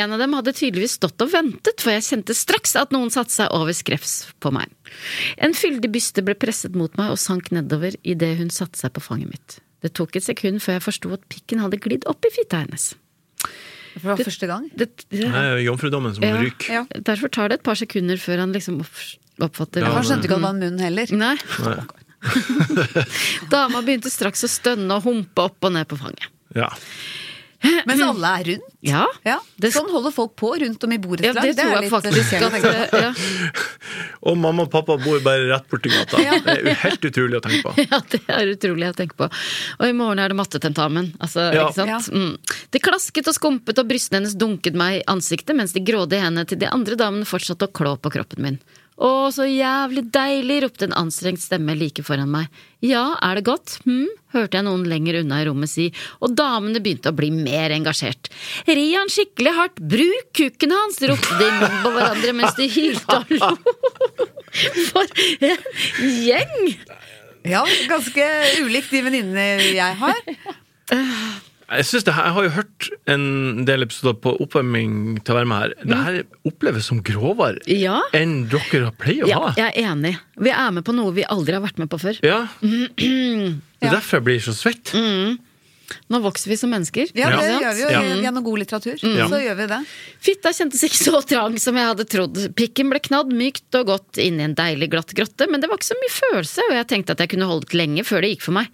[SPEAKER 2] En av dem hadde tydeligvis stått og ventet, for jeg kjente straks at noen satte seg over skrevs på meg. En fyldig byste ble presset mot meg og sank nedover idet hun satte seg på fanget mitt. Det tok et sekund før jeg forsto at pikken hadde glidd opp i fitta hennes.
[SPEAKER 3] For det var første gang.
[SPEAKER 2] Det, det,
[SPEAKER 5] Nei, Jomfrudommen som
[SPEAKER 2] Ja.
[SPEAKER 5] ryker.
[SPEAKER 3] Ja.
[SPEAKER 2] Derfor tar det et par sekunder før han liksom opp- oppfatter
[SPEAKER 5] Ja,
[SPEAKER 3] Han skjønte ikke at det var en munn heller.
[SPEAKER 2] Nei. Dama begynte straks å stønne og humpe opp og ned på fanget.
[SPEAKER 5] Ja.
[SPEAKER 3] Mens alle er rundt.
[SPEAKER 2] Ja,
[SPEAKER 3] Ja,
[SPEAKER 2] det,
[SPEAKER 3] Sånn holder folk på rundt om i
[SPEAKER 2] ja,
[SPEAKER 3] borettslag.
[SPEAKER 2] det tror jeg faktisk at eh, ja,
[SPEAKER 5] Og mamma og pappa bor bare rett borti gata. Det er jo helt utrolig å tenke på.
[SPEAKER 2] ja, det er utrolig å tenke på. Og i morgen er det mattetentamen. Altså,
[SPEAKER 5] Ja.
[SPEAKER 2] ikke sant? Mm. Det klasket og skumpet, og brystene hennes dunket meg i ansiktet mens de grådige hendene til de andre damene fortsatte å klå på kroppen min. Å, så jævlig deilig! ropte en anstrengt stemme like foran meg. Ja, er det godt? Hm? hørte jeg noen lenger unna i rommet si, og damene begynte å bli mer engasjert. Ri han skikkelig hardt! Bruk kukken hans! ropte de i munnen på hverandre mens de hylte og lo. For en gjeng!
[SPEAKER 3] Ja, ganske ulikt de venninnene jeg har.
[SPEAKER 5] Jeg, synes det her, jeg har jo hørt en del episoder på oppvarming til å være med her. Det her oppleves som grovere
[SPEAKER 2] Ja.
[SPEAKER 5] enn dere pleier å
[SPEAKER 2] Ja,
[SPEAKER 5] ha.
[SPEAKER 2] jeg er enig. Vi er med på noe vi aldri har vært med på før.
[SPEAKER 5] Ja.
[SPEAKER 2] Mm-hmm.
[SPEAKER 5] Det er derfor jeg blir så svett.
[SPEAKER 2] Nå vokser vi som mennesker.
[SPEAKER 3] Ja,
[SPEAKER 5] Ja.
[SPEAKER 3] det
[SPEAKER 2] ikke sant?
[SPEAKER 3] gjør vi jo
[SPEAKER 5] Ja.
[SPEAKER 3] gjennom god litteratur.
[SPEAKER 2] Mm.
[SPEAKER 5] Ja.
[SPEAKER 3] Så gjør vi det.
[SPEAKER 2] Fitta kjentes ikke så trang som jeg hadde trodd. Pikken ble knadd mykt og godt inn i en deilig glatt grotte, men det var ikke så mye følelse, og jeg tenkte at jeg kunne holdt lenge før det gikk for meg.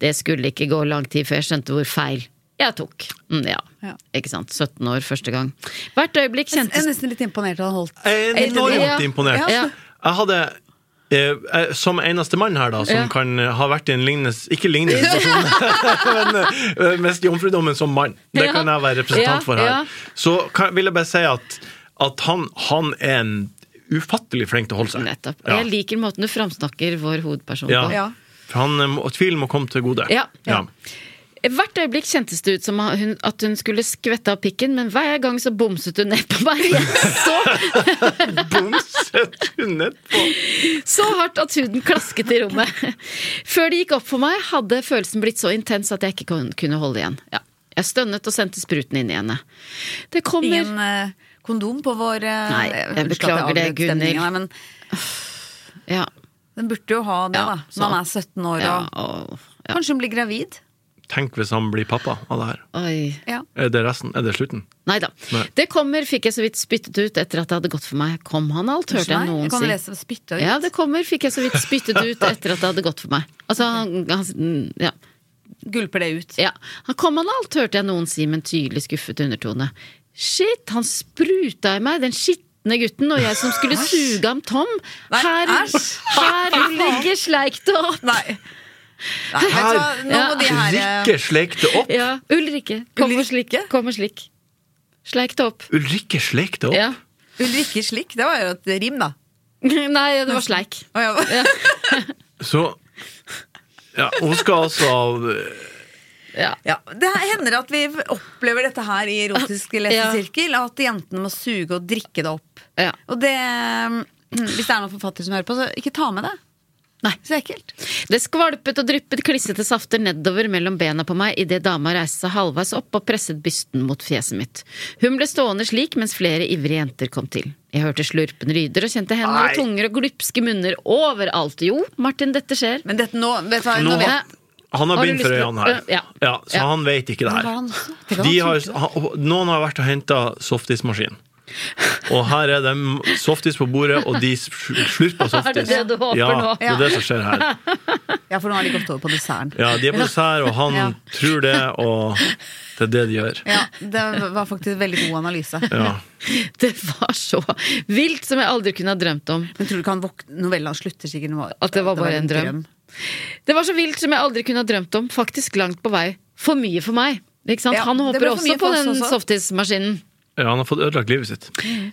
[SPEAKER 2] Det skulle ikke gå lang tid før jeg skjønte hvor feil jeg tok. Mm, ja,
[SPEAKER 3] Ja. Altså,
[SPEAKER 2] ikke sant. 17 år første gang. Hvert øyeblikk
[SPEAKER 3] Jeg er
[SPEAKER 2] kjentes
[SPEAKER 3] nesten litt imponert over at han holdt
[SPEAKER 5] Jeg er
[SPEAKER 2] Ja.
[SPEAKER 5] enormt imponert.
[SPEAKER 2] Ja.
[SPEAKER 5] Jeg hadde eh, eh, som eneste mann her, da, som
[SPEAKER 2] Ja.
[SPEAKER 5] kan eh, ha vært i en lignende Ikke lignende situasjon, men eh, mest jomfrudommen som mann. Det
[SPEAKER 2] Ja.
[SPEAKER 5] kan jeg være representant
[SPEAKER 2] Ja,
[SPEAKER 5] for her.
[SPEAKER 2] ja.
[SPEAKER 5] Så kan, vil jeg bare si at, at han, han er en ufattelig flink til å holde seg.
[SPEAKER 2] Nettopp.
[SPEAKER 5] Ja.
[SPEAKER 2] Jeg liker måten du framsnakker vår hovedperson
[SPEAKER 5] Ja.
[SPEAKER 2] på.
[SPEAKER 3] Ja.
[SPEAKER 5] For han, eh, må- tvilen må komme til gode.
[SPEAKER 2] Ja. Hvert øyeblikk kjentes det ut som hun, at hun skulle skvette av pikken, men hver gang så bomset hun ned på meg igjen så,
[SPEAKER 5] Bomset du nedpå?
[SPEAKER 2] så hardt at huden klasket i rommet. Før det gikk opp for meg, hadde følelsen blitt så intens at jeg ikke kun- kunne holde igjen. Ja. Jeg stønnet og sendte spruten inn i henne. Det kommer
[SPEAKER 3] Ingen eh, kondom på vår eh,
[SPEAKER 2] Nei, jeg
[SPEAKER 3] unnskyld at
[SPEAKER 2] beklager
[SPEAKER 3] avbrøt
[SPEAKER 2] det, Gunnhild.
[SPEAKER 3] stemningen her, Men
[SPEAKER 2] Ja.
[SPEAKER 3] den burde jo ha det,
[SPEAKER 2] Ja,
[SPEAKER 3] da. Når man er 17 år
[SPEAKER 2] ja
[SPEAKER 3] og
[SPEAKER 2] å, ja.
[SPEAKER 3] Kanskje hun blir gravid?
[SPEAKER 5] Tenk hvis han blir pappa av det her.
[SPEAKER 2] Oi.
[SPEAKER 3] Ja.
[SPEAKER 5] Er det resten? Er det slutten?
[SPEAKER 2] Nei da.
[SPEAKER 5] Nei.
[SPEAKER 2] Det kommer, fikk jeg så vidt spyttet ut etter at det hadde gått for meg. Kom han alt, hørte jeg
[SPEAKER 3] Nei,
[SPEAKER 2] noen
[SPEAKER 3] jeg kan
[SPEAKER 2] si.
[SPEAKER 3] lese spytte ut.
[SPEAKER 2] Ja, det kommer, fikk jeg så vidt spyttet ut etter at det hadde gått for meg. Altså, han, han, ja.
[SPEAKER 3] Gulper det ut.
[SPEAKER 2] Ja, Han kom han alt, hørte jeg noen si med en tydelig skuffet undertone. Shit, han spruta i meg, den skitne gutten, og jeg som skulle suge ham tom.
[SPEAKER 3] Nei,
[SPEAKER 2] Her,
[SPEAKER 3] æsj.
[SPEAKER 2] her ligger sleiktet opp!
[SPEAKER 3] Nei. Nei, vet du hva, nå
[SPEAKER 2] Ja.
[SPEAKER 3] må de her eh,
[SPEAKER 5] Rikke sleik det opp!
[SPEAKER 2] Ja, Ulrikke, kom og slik.
[SPEAKER 3] Ulrikke?
[SPEAKER 2] Kom og slik. Sleik det opp.
[SPEAKER 5] Ulrikke sleik det opp!
[SPEAKER 2] Ja.
[SPEAKER 3] Ulrikke Slik, det var jo et rim, da.
[SPEAKER 2] Nei, det var sleik.
[SPEAKER 3] Å, ja.
[SPEAKER 5] Så ja, Hun skal altså
[SPEAKER 2] Ja.
[SPEAKER 3] Ja, det hender at vi opplever dette her i erotisk lesesirkel, at jentene må suge og drikke det opp.
[SPEAKER 2] Ja.
[SPEAKER 3] Og det, hvis det er noen forfatter som hører på, så ikke ta med det.
[SPEAKER 2] Nei.
[SPEAKER 3] Så ekkelt.
[SPEAKER 2] Det skvalpet og dryppet klissete safter nedover mellom bena på meg idet dama reiste seg halvveis opp og presset bysten mot fjeset mitt. Hun ble stående slik mens flere ivrige jenter kom til. Jeg hørte slurpen ryder og kjente hender og tunger og glupske munner overalt. Jo, Martin, dette skjer.
[SPEAKER 3] Men dette nå, vet du hva, nå
[SPEAKER 5] Nå-
[SPEAKER 3] vet jeg.
[SPEAKER 5] Han har
[SPEAKER 2] Har du
[SPEAKER 5] bind for
[SPEAKER 2] lyst til-
[SPEAKER 5] øynene her,
[SPEAKER 2] Øh, ja.
[SPEAKER 5] Ja, så
[SPEAKER 2] Ja.
[SPEAKER 5] han vet ikke det
[SPEAKER 3] Hva var
[SPEAKER 5] her.
[SPEAKER 3] han så? Det var
[SPEAKER 5] De
[SPEAKER 3] han
[SPEAKER 5] har,
[SPEAKER 3] som-
[SPEAKER 5] han- noen har vært og henta softismaskin. Og her er det m- softis på bordet, og de sl- slurper softis.
[SPEAKER 2] Er det det du håper
[SPEAKER 5] ja,
[SPEAKER 2] nå?
[SPEAKER 5] det er det som skjer her.
[SPEAKER 3] Ja, for nå har de gått over på desserten.
[SPEAKER 5] Ja, De er på dessert, og han
[SPEAKER 3] Ja.
[SPEAKER 5] tror det, og det er det de gjør.
[SPEAKER 3] Ja, det var faktisk veldig god analyse.
[SPEAKER 5] Ja.
[SPEAKER 2] Det var så vilt som jeg aldri kunne ha drømt om.
[SPEAKER 3] Men tror du ikke han våk novella slutter sikkert nå?
[SPEAKER 2] At det var bare en drøm. Det var så vilt som jeg aldri kunne ha drømt om. Faktisk langt på vei. For mye for meg. Ikke sant?
[SPEAKER 3] Ja,
[SPEAKER 2] Han
[SPEAKER 3] det
[SPEAKER 2] håper
[SPEAKER 3] ble for
[SPEAKER 2] også
[SPEAKER 3] mye
[SPEAKER 2] på
[SPEAKER 3] for oss
[SPEAKER 2] den
[SPEAKER 3] også.
[SPEAKER 2] softismaskinen.
[SPEAKER 5] ja, Han har fått ødelagt livet sitt.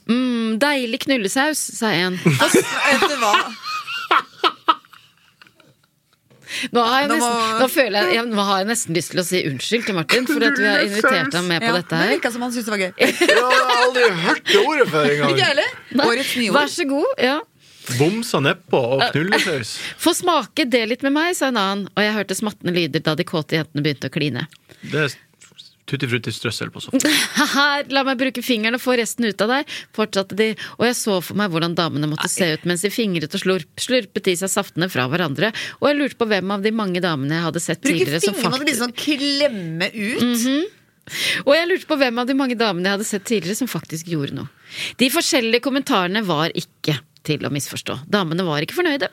[SPEAKER 2] Mm, deilig knullesaus, sa en.
[SPEAKER 3] Vet du hva?
[SPEAKER 2] Nå, har jeg
[SPEAKER 3] Nå må-
[SPEAKER 2] nesten, nå, føler jeg, jeg, nå har jeg nesten lyst til å si unnskyld til Martin for at vi har invitert ham med på
[SPEAKER 3] Ja,
[SPEAKER 2] dette
[SPEAKER 3] Det
[SPEAKER 2] her.
[SPEAKER 3] virka som han syntes det var gøy.
[SPEAKER 5] Jeg har aldri hørt det ordet før
[SPEAKER 3] Ikke
[SPEAKER 5] engang!
[SPEAKER 3] heller? Årets
[SPEAKER 2] Vær
[SPEAKER 3] nyord.
[SPEAKER 2] så god. ja
[SPEAKER 5] Bomsa nedpå og knullesaus.
[SPEAKER 2] Få smake det litt med meg, sa en annen, og jeg hørte smattende lyder da de kåte jentene begynte å kline.
[SPEAKER 5] Det er tutti frutti strøssel på softis.
[SPEAKER 2] Haha, la meg bruke fingeren og få resten ut av deg, fortsatte de, og jeg så for meg hvordan damene måtte se ut mens de fingret og slurp, slurpet i seg saftene fra hverandre, og jeg lurte på hvem av de mange damene jeg hadde sett
[SPEAKER 3] Bruke
[SPEAKER 2] tidligere som
[SPEAKER 3] fingrene og
[SPEAKER 2] faktisk Mhm.
[SPEAKER 3] liksom klemme ut.
[SPEAKER 2] Og jeg lurte på hvem av de mange damene jeg hadde sett tidligere som faktisk gjorde noe. De forskjellige kommentarene var ikke til å misforstå. Damene var ikke fornøyde.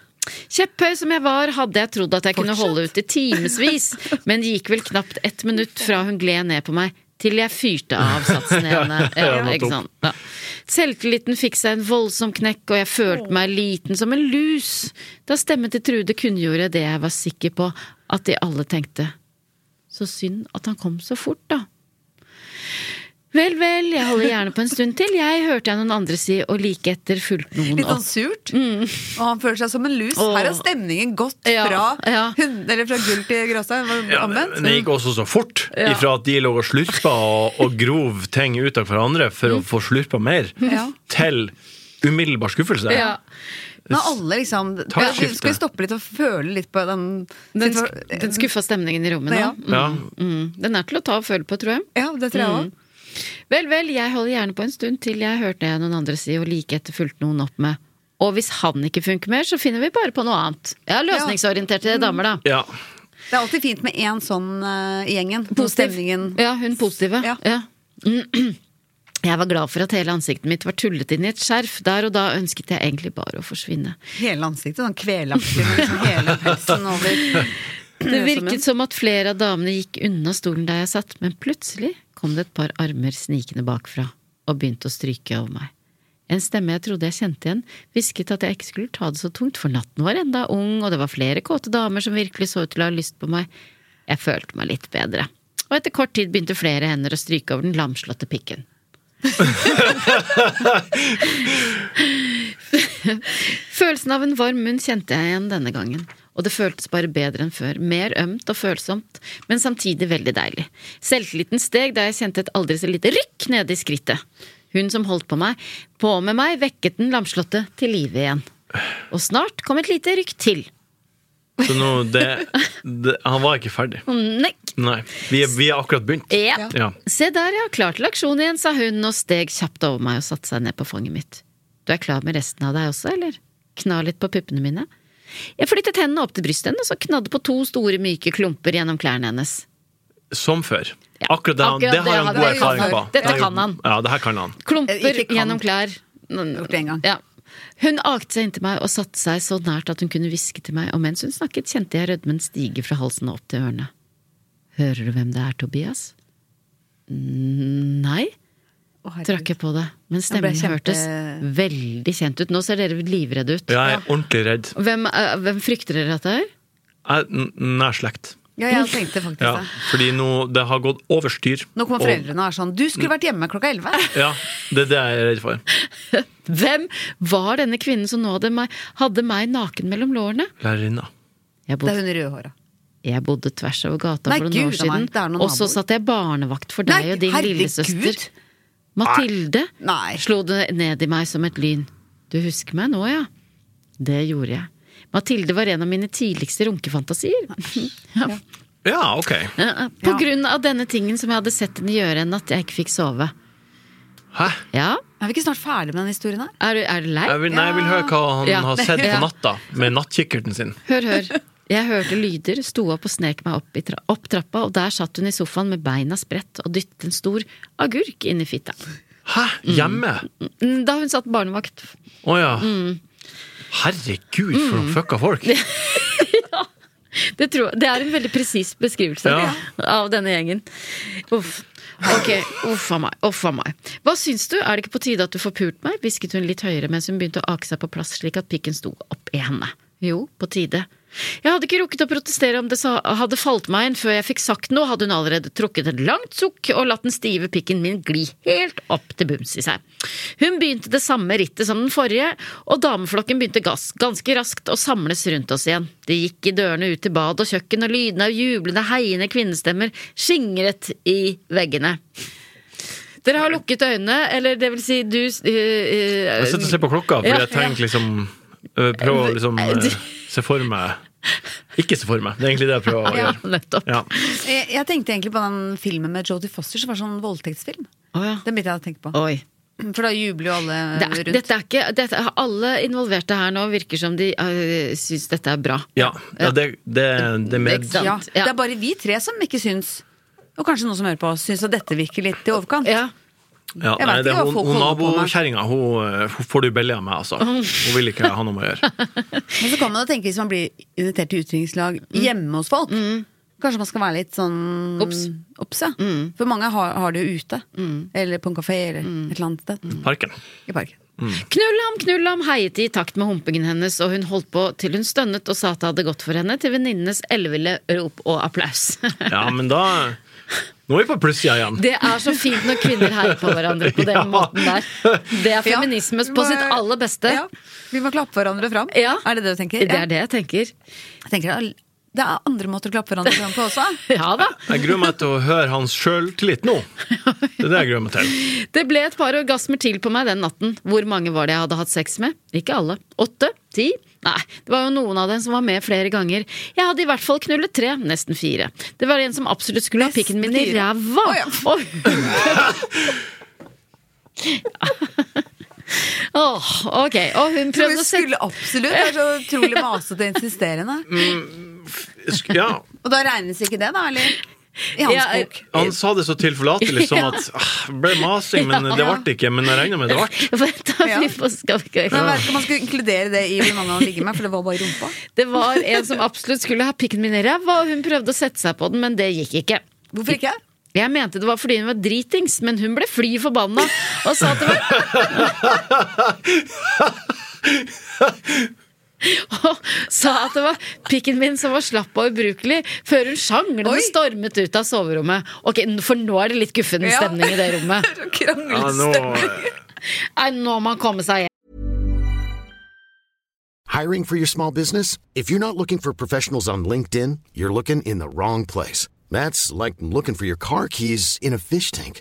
[SPEAKER 2] Kjepphøy som jeg var, hadde jeg trodd at jeg kunne holde ut i timevis, men gikk vel knapt ett minutt fra hun gled ned på meg. Til jeg fyrte av satsen i henne. Ja, ikke sant? Ja. Selvtilliten fikk seg en voldsom knekk, og jeg følte meg liten som en lus. Da stemmen til Trude kunngjorde det jeg var sikker på at de alle tenkte. Så synd at han kom så fort, da. Vel, vel, jeg holder gjerne på en stund til. Jeg hørte jeg noen andre si, og like etter fulgte noen
[SPEAKER 3] Litt sånn
[SPEAKER 2] opp.
[SPEAKER 3] surt. Og han føler seg som en lus.
[SPEAKER 2] Mhm. Åh.
[SPEAKER 3] Her har stemningen gått
[SPEAKER 2] Ja,
[SPEAKER 3] fra,
[SPEAKER 2] ja.
[SPEAKER 3] hund- eller fra gull til gråstein. Var det
[SPEAKER 5] Ja,
[SPEAKER 3] omvendt?
[SPEAKER 5] men det gikk også så fort ifra at de lå og slurpa og, og grov ting ut av hverandre for å få slurpa mer,
[SPEAKER 3] Ja.
[SPEAKER 5] til umiddelbar skuffelse.
[SPEAKER 2] Ja.
[SPEAKER 3] Nå er alle liksom
[SPEAKER 5] Taktskifte.
[SPEAKER 3] Ja, Skal vi stoppe litt og føle litt på den
[SPEAKER 2] Den, sk- den skuffa stemningen i rommet
[SPEAKER 3] Ja.
[SPEAKER 2] nå.
[SPEAKER 5] Ja,
[SPEAKER 2] Mm, Den er til å ta og føle på, tror jeg.
[SPEAKER 3] Ja, det tror jeg
[SPEAKER 2] Mm.
[SPEAKER 3] òg.
[SPEAKER 2] Vel, vel, jeg holder gjerne på en stund til jeg hørte jeg noen andre si, og like etter fulgte noen opp med. Og hvis han ikke funker mer, så finner vi bare på noe annet. Ja, løsningsorienterte damer, da.
[SPEAKER 5] ja.
[SPEAKER 3] Det er alltid fint med én sånn eh, i gjengen. Når
[SPEAKER 2] Positiv.
[SPEAKER 3] stemningen
[SPEAKER 2] Ja, hun positive.
[SPEAKER 3] Ja.
[SPEAKER 2] Ja. Jeg var glad for at hele ansiktet mitt var tullet inn i et skjerf. Der og da ønsket jeg egentlig bare å forsvinne.
[SPEAKER 3] Hele ansiktet sånn kvelaktig med liksom hele pelsen over.
[SPEAKER 2] Det virket som at flere av damene gikk unna stolen der jeg satt, men plutselig kom det et par armer snikende bakfra og begynte å stryke over meg. En stemme jeg trodde jeg kjente igjen, hvisket at jeg ikke skulle ta det så tungt, for natten var enda ung, og det var flere kåte damer som virkelig så ut til å ha lyst på meg. Jeg følte meg litt bedre. Og etter kort tid begynte flere hender å stryke over den lamslåtte pikken. Følelsen av en varm munn kjente jeg igjen denne gangen. Og det føltes bare bedre enn før. Mer ømt og følsomt, men samtidig veldig deilig. Selvtilliten steg da jeg kjente et aldri så lite rykk nede i skrittet. Hun som holdt på meg, på med meg, vekket den lamslåtte til live igjen. Og snart kom et lite rykk til.
[SPEAKER 5] Så nå det, det Han var ikke ferdig.
[SPEAKER 2] Nei,
[SPEAKER 5] Nei. Vi er, vi er akkurat begynt.
[SPEAKER 2] Mm. ja.
[SPEAKER 5] Ja.
[SPEAKER 2] Se der, ja, klar til aksjon igjen, sa hun og steg kjapt over meg og satte seg ned på fanget mitt. Du er klar med resten av deg også, eller? Kna litt på puppene mine. Jeg flyttet hendene opp til brystet hennes og knadde på to store, myke klumper gjennom klærne hennes.
[SPEAKER 5] Som før.
[SPEAKER 2] Ja.
[SPEAKER 5] Akkurat det, han,
[SPEAKER 2] Akkurat
[SPEAKER 5] det har
[SPEAKER 2] det
[SPEAKER 5] han
[SPEAKER 2] han-
[SPEAKER 5] god
[SPEAKER 3] det kan
[SPEAKER 5] erfaring
[SPEAKER 3] han.
[SPEAKER 5] på.
[SPEAKER 2] Dette
[SPEAKER 5] har
[SPEAKER 2] kan
[SPEAKER 5] gjort-
[SPEAKER 2] han.
[SPEAKER 5] Ja, det her kan han.
[SPEAKER 2] Klumper
[SPEAKER 3] Eh, Ikke kan.
[SPEAKER 2] gjennom klær.
[SPEAKER 3] Gjort det en gang.
[SPEAKER 2] Ja. Hun akte seg inntil meg og satte seg så nært at hun kunne hviske til meg, og mens hun snakket, kjente jeg rødmen stige fra halsen og opp til ørene. Hører du hvem det er, Tobias? Nei.
[SPEAKER 3] Å, herregud.
[SPEAKER 2] trakk jeg på det. Men
[SPEAKER 3] ble
[SPEAKER 2] stemmen
[SPEAKER 3] kjempe-
[SPEAKER 2] hørtes veldig kjent ut. Nå ser dere livredde ut.
[SPEAKER 5] Ja, jeg er ordentlig redd.
[SPEAKER 2] Hvem, eh, hvem frykter dere at det er?
[SPEAKER 5] Jeg, n- nær slekt.
[SPEAKER 3] Ja, jeg tenkte faktisk
[SPEAKER 5] Ja,
[SPEAKER 3] det.
[SPEAKER 5] fordi nå Det har gått over styr.
[SPEAKER 3] Nå
[SPEAKER 5] og-
[SPEAKER 3] kommer foreldrene og er sånn Du
[SPEAKER 5] Mm.
[SPEAKER 3] skulle vært hjemme klokka elleve!
[SPEAKER 5] Ja, det er det jeg er redd for.
[SPEAKER 2] Hvem var denne kvinnen som nå hadde meg, hadde meg naken mellom lårene?
[SPEAKER 5] Lærerinna.
[SPEAKER 2] Jeg
[SPEAKER 3] Det er
[SPEAKER 2] bodde,
[SPEAKER 3] hun i rødhåra.
[SPEAKER 2] jeg bodde tvers over gata
[SPEAKER 3] Nei,
[SPEAKER 2] for noen
[SPEAKER 3] Gud,
[SPEAKER 2] år
[SPEAKER 3] nei,
[SPEAKER 2] siden,
[SPEAKER 3] det er noen
[SPEAKER 2] og så
[SPEAKER 3] naboer.
[SPEAKER 2] satt jeg barnevakt for deg
[SPEAKER 3] Nei,
[SPEAKER 2] og din
[SPEAKER 3] herregud.
[SPEAKER 2] lillesøster. Mathilde
[SPEAKER 3] Nei.
[SPEAKER 2] slo det ned i meg som et lyn. Du husker meg nå, ja? Det gjorde jeg. Mathilde var en av mine tidligste runkefantasier.
[SPEAKER 5] Ja, ok.
[SPEAKER 2] Ja, På
[SPEAKER 3] Ja.
[SPEAKER 2] grunn av denne tingen som jeg hadde sett henne gjøre en natt jeg ikke fikk sove.
[SPEAKER 5] Hæ?
[SPEAKER 2] Ja,
[SPEAKER 3] Er vi ikke snart ferdig med den historien her?
[SPEAKER 2] er du, er du lei?
[SPEAKER 5] Jeg vil, nei, jeg vil høre hva han
[SPEAKER 2] Ja.
[SPEAKER 5] har sett på
[SPEAKER 2] Ja.
[SPEAKER 5] natta med nattkikkerten sin.
[SPEAKER 2] Hør, hør. Jeg hørte lyder, sto opp og snek meg opp, i tra opp trappa, og der satt hun i sofaen med beina spredt og dyttet en stor agurk inn i fitta.
[SPEAKER 5] Hæ? Hjemme?
[SPEAKER 2] Mm, Da hun satt barnevakt.
[SPEAKER 5] Å ja.
[SPEAKER 3] Mm.
[SPEAKER 5] Herregud, for noen fucka folk!
[SPEAKER 2] Det, tror, jeg- det er en veldig presis beskrivelse
[SPEAKER 5] Ja.
[SPEAKER 2] av denne gjengen. Uff. Ok, uff a meg. Uff a meg. Hva syns du? Er det ikke på tide at du får pult meg? hvisket hun litt høyere mens hun begynte å ake seg på plass slik at pikken sto opp i henne. Jo, på tide. Jeg hadde ikke rukket å protestere om det sa, hadde falt meg inn før jeg fikk sagt noe, hadde hun allerede trukket et langt sukk og latt den stive pikken min gli helt opp til bunns i seg. Hun begynte det samme rittet som den forrige, og dameflokken begynte gass, ganske raskt å samles rundt oss igjen. De gikk i dørene ut til bad og kjøkken, og lydene av jublende, heiende kvinnestemmer skingret i veggene. Dere har lukket øynene, eller det vil si du øh,
[SPEAKER 5] Jeg sitter og ser på klokka, fordi
[SPEAKER 2] Ja.
[SPEAKER 5] jeg tenker liksom øh, Prøver å
[SPEAKER 3] Eh,
[SPEAKER 5] liksom øh, se for meg Ikke se for meg, det er egentlig det jeg prøver å
[SPEAKER 2] Ja,
[SPEAKER 5] gjøre.
[SPEAKER 2] nettopp.
[SPEAKER 5] Ja.
[SPEAKER 3] Jeg, jeg tenkte egentlig på den filmen med Jodie Foster som var sånn voldtektsfilm.
[SPEAKER 2] Å ja.
[SPEAKER 3] Den begynte jeg å tenke på.
[SPEAKER 2] Oi.
[SPEAKER 3] For da jubler jo alle
[SPEAKER 2] Det er,
[SPEAKER 3] rundt.
[SPEAKER 2] dette er ikke, dette, alle involverte her nå virker som de øh, syns dette er bra.
[SPEAKER 5] Ja, ja, det, det, det er med
[SPEAKER 2] Ikke sant?
[SPEAKER 3] ja,
[SPEAKER 2] Ja.
[SPEAKER 3] Det er bare vi tre som ikke syns, og kanskje noen som hører på, oss, syns at dette virker litt i overkant.
[SPEAKER 2] Ja.
[SPEAKER 5] ja,
[SPEAKER 3] Jeg
[SPEAKER 5] nei,
[SPEAKER 3] vet
[SPEAKER 5] det,
[SPEAKER 3] ikke hva
[SPEAKER 5] hun,
[SPEAKER 3] folk
[SPEAKER 5] hun
[SPEAKER 3] holder på med.
[SPEAKER 5] Nabokjerringa hun, øh, hun får du billig av meg, altså. Hun vil ikke ha noe med å gjøre.
[SPEAKER 3] Men så kan man jo tenke, hvis man blir invitert til utdrikningslag
[SPEAKER 2] Mm.
[SPEAKER 3] hjemme hos folk, kanskje man skal være litt sånn
[SPEAKER 2] Obs. Mm.
[SPEAKER 3] obs, ja. For mange har, har det jo ute. Eller på en kafé, eller et eller annet
[SPEAKER 2] Mm.
[SPEAKER 3] sted.
[SPEAKER 5] Parken.
[SPEAKER 3] I parken.
[SPEAKER 2] Knull ham, knull ham, heiet de i takt med humpingen hennes, og hun holdt på til hun stønnet og sa at det hadde gått for henne, til venninnenes elleville rop og applaus.
[SPEAKER 5] Ja, men da Nå er vi på plussida igjen.
[SPEAKER 2] Det er så fint når kvinner heier på hverandre på den
[SPEAKER 5] Ja.
[SPEAKER 2] måten der. Det er
[SPEAKER 3] Ja.
[SPEAKER 2] feminisme på sitt aller beste.
[SPEAKER 3] Ja. Vi må klappe hverandre fram.
[SPEAKER 2] Ja.
[SPEAKER 3] Er det det du tenker?
[SPEAKER 2] Det er det jeg tenker.
[SPEAKER 3] Jeg tenker det er- det er andre måter å klappe hverandre fram på også.
[SPEAKER 2] Ja da.
[SPEAKER 5] Jeg gruer meg til å høre hans sjøltillit nå. Det er det jeg gruer meg til.
[SPEAKER 2] Det ble et par orgasmer til på meg den natten. Hvor mange var det jeg hadde hatt sex med? Ikke alle. Åtte? Ti? Nei, det var jo noen av dem som var med flere ganger. Jeg hadde i hvert fall knullet tre, nesten fire. Det var en som absolutt skulle ha pikken min i
[SPEAKER 3] Nesten fire.
[SPEAKER 2] ræva!
[SPEAKER 3] Å, ja.
[SPEAKER 2] Og hun Åh, ok, og hun
[SPEAKER 3] Så vi
[SPEAKER 2] prøvde å sette
[SPEAKER 3] skulle absolutt. Det er så utrolig masete og
[SPEAKER 2] Mm.
[SPEAKER 3] insisterende.
[SPEAKER 5] Sk- Ja,
[SPEAKER 3] Og da regnes ikke det, da? Eller? I hans
[SPEAKER 2] Ja,
[SPEAKER 3] bok.
[SPEAKER 5] han sa det så tilforlatelig, sånn at ah, det ble masing, men det ble det ikke. Men jeg regner med det ble.
[SPEAKER 2] Vent, da, vi får- skal vi ikke-
[SPEAKER 3] Men jeg vet ikke om man skulle inkludere det i hvor mange han ligger med, for det var bare rumpa.
[SPEAKER 2] Det var en som absolutt skulle ha pikken min i ræva, og hun prøvde å sette seg på den, men det gikk ikke.
[SPEAKER 3] Hvorfor ikke?
[SPEAKER 2] Jeg mente det var fordi hun var dritings, men hun ble fly forbanna og sa at det var Og sa at det var pikken min som var slapp og ubrukelig, før hun sjanglende
[SPEAKER 3] Oi.
[SPEAKER 2] stormet ut av soverommet. Ok, For nå er det litt guffen
[SPEAKER 3] Ja.
[SPEAKER 2] stemning i det rommet.
[SPEAKER 3] Så
[SPEAKER 5] Ja, nå, eh,
[SPEAKER 3] Kranglestemme.
[SPEAKER 2] Nei, nå må han komme seg hjem.
[SPEAKER 6] Hiring for your small business? If you're not looking for professionals on LinkedIn, you're looking in the wrong place. That's like looking for your car keys in a fish tank.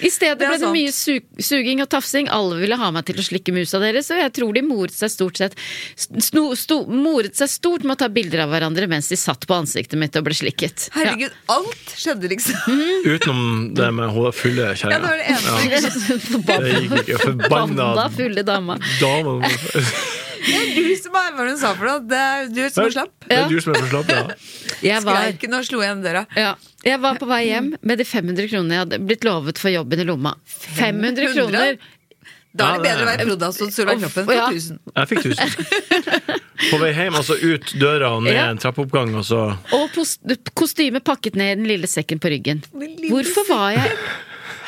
[SPEAKER 2] I stedet
[SPEAKER 3] Det er
[SPEAKER 2] ble det
[SPEAKER 3] sant.
[SPEAKER 2] mye su suging og tafsing. Alle ville ha meg til å slikke musa deres, og jeg tror de moret seg stort sett sno, sto, moret seg stort med å ta bilder av hverandre mens de satt på ansiktet mitt og ble slikket.
[SPEAKER 3] Herregud, alt skjedde liksom.
[SPEAKER 2] Mm.
[SPEAKER 5] utenom det med hun fulle
[SPEAKER 3] Ja, det var
[SPEAKER 5] kjerringa.
[SPEAKER 3] det eneste.
[SPEAKER 2] Ja.
[SPEAKER 5] Det gikk ikke. Forbanna
[SPEAKER 2] Forbanna fulle dama.
[SPEAKER 5] dame.
[SPEAKER 3] Du som er, hva var det hun sa for noe? Det er du som er slapp.
[SPEAKER 5] Det er du som er for slapp, ja.
[SPEAKER 2] Jeg var,
[SPEAKER 3] Skreiken og slo igjen døra.
[SPEAKER 2] ja, jeg var på vei hjem med de 500 kronene jeg hadde blitt lovet for jobben i lomma. 500 kroner!
[SPEAKER 3] Da
[SPEAKER 5] Ja,
[SPEAKER 3] er det bedre å
[SPEAKER 5] det
[SPEAKER 3] være prod.astot Solveig Kloppen
[SPEAKER 2] Ja.
[SPEAKER 3] for 1000.
[SPEAKER 5] Jeg fikk 1000. På vei hjem, altså ut døra og ned
[SPEAKER 2] Ja.
[SPEAKER 5] en trappeoppgang, og så
[SPEAKER 2] Og pos- kostyme pakket ned i den lille sekken på ryggen.
[SPEAKER 3] Den lille
[SPEAKER 2] Hvorfor var jeg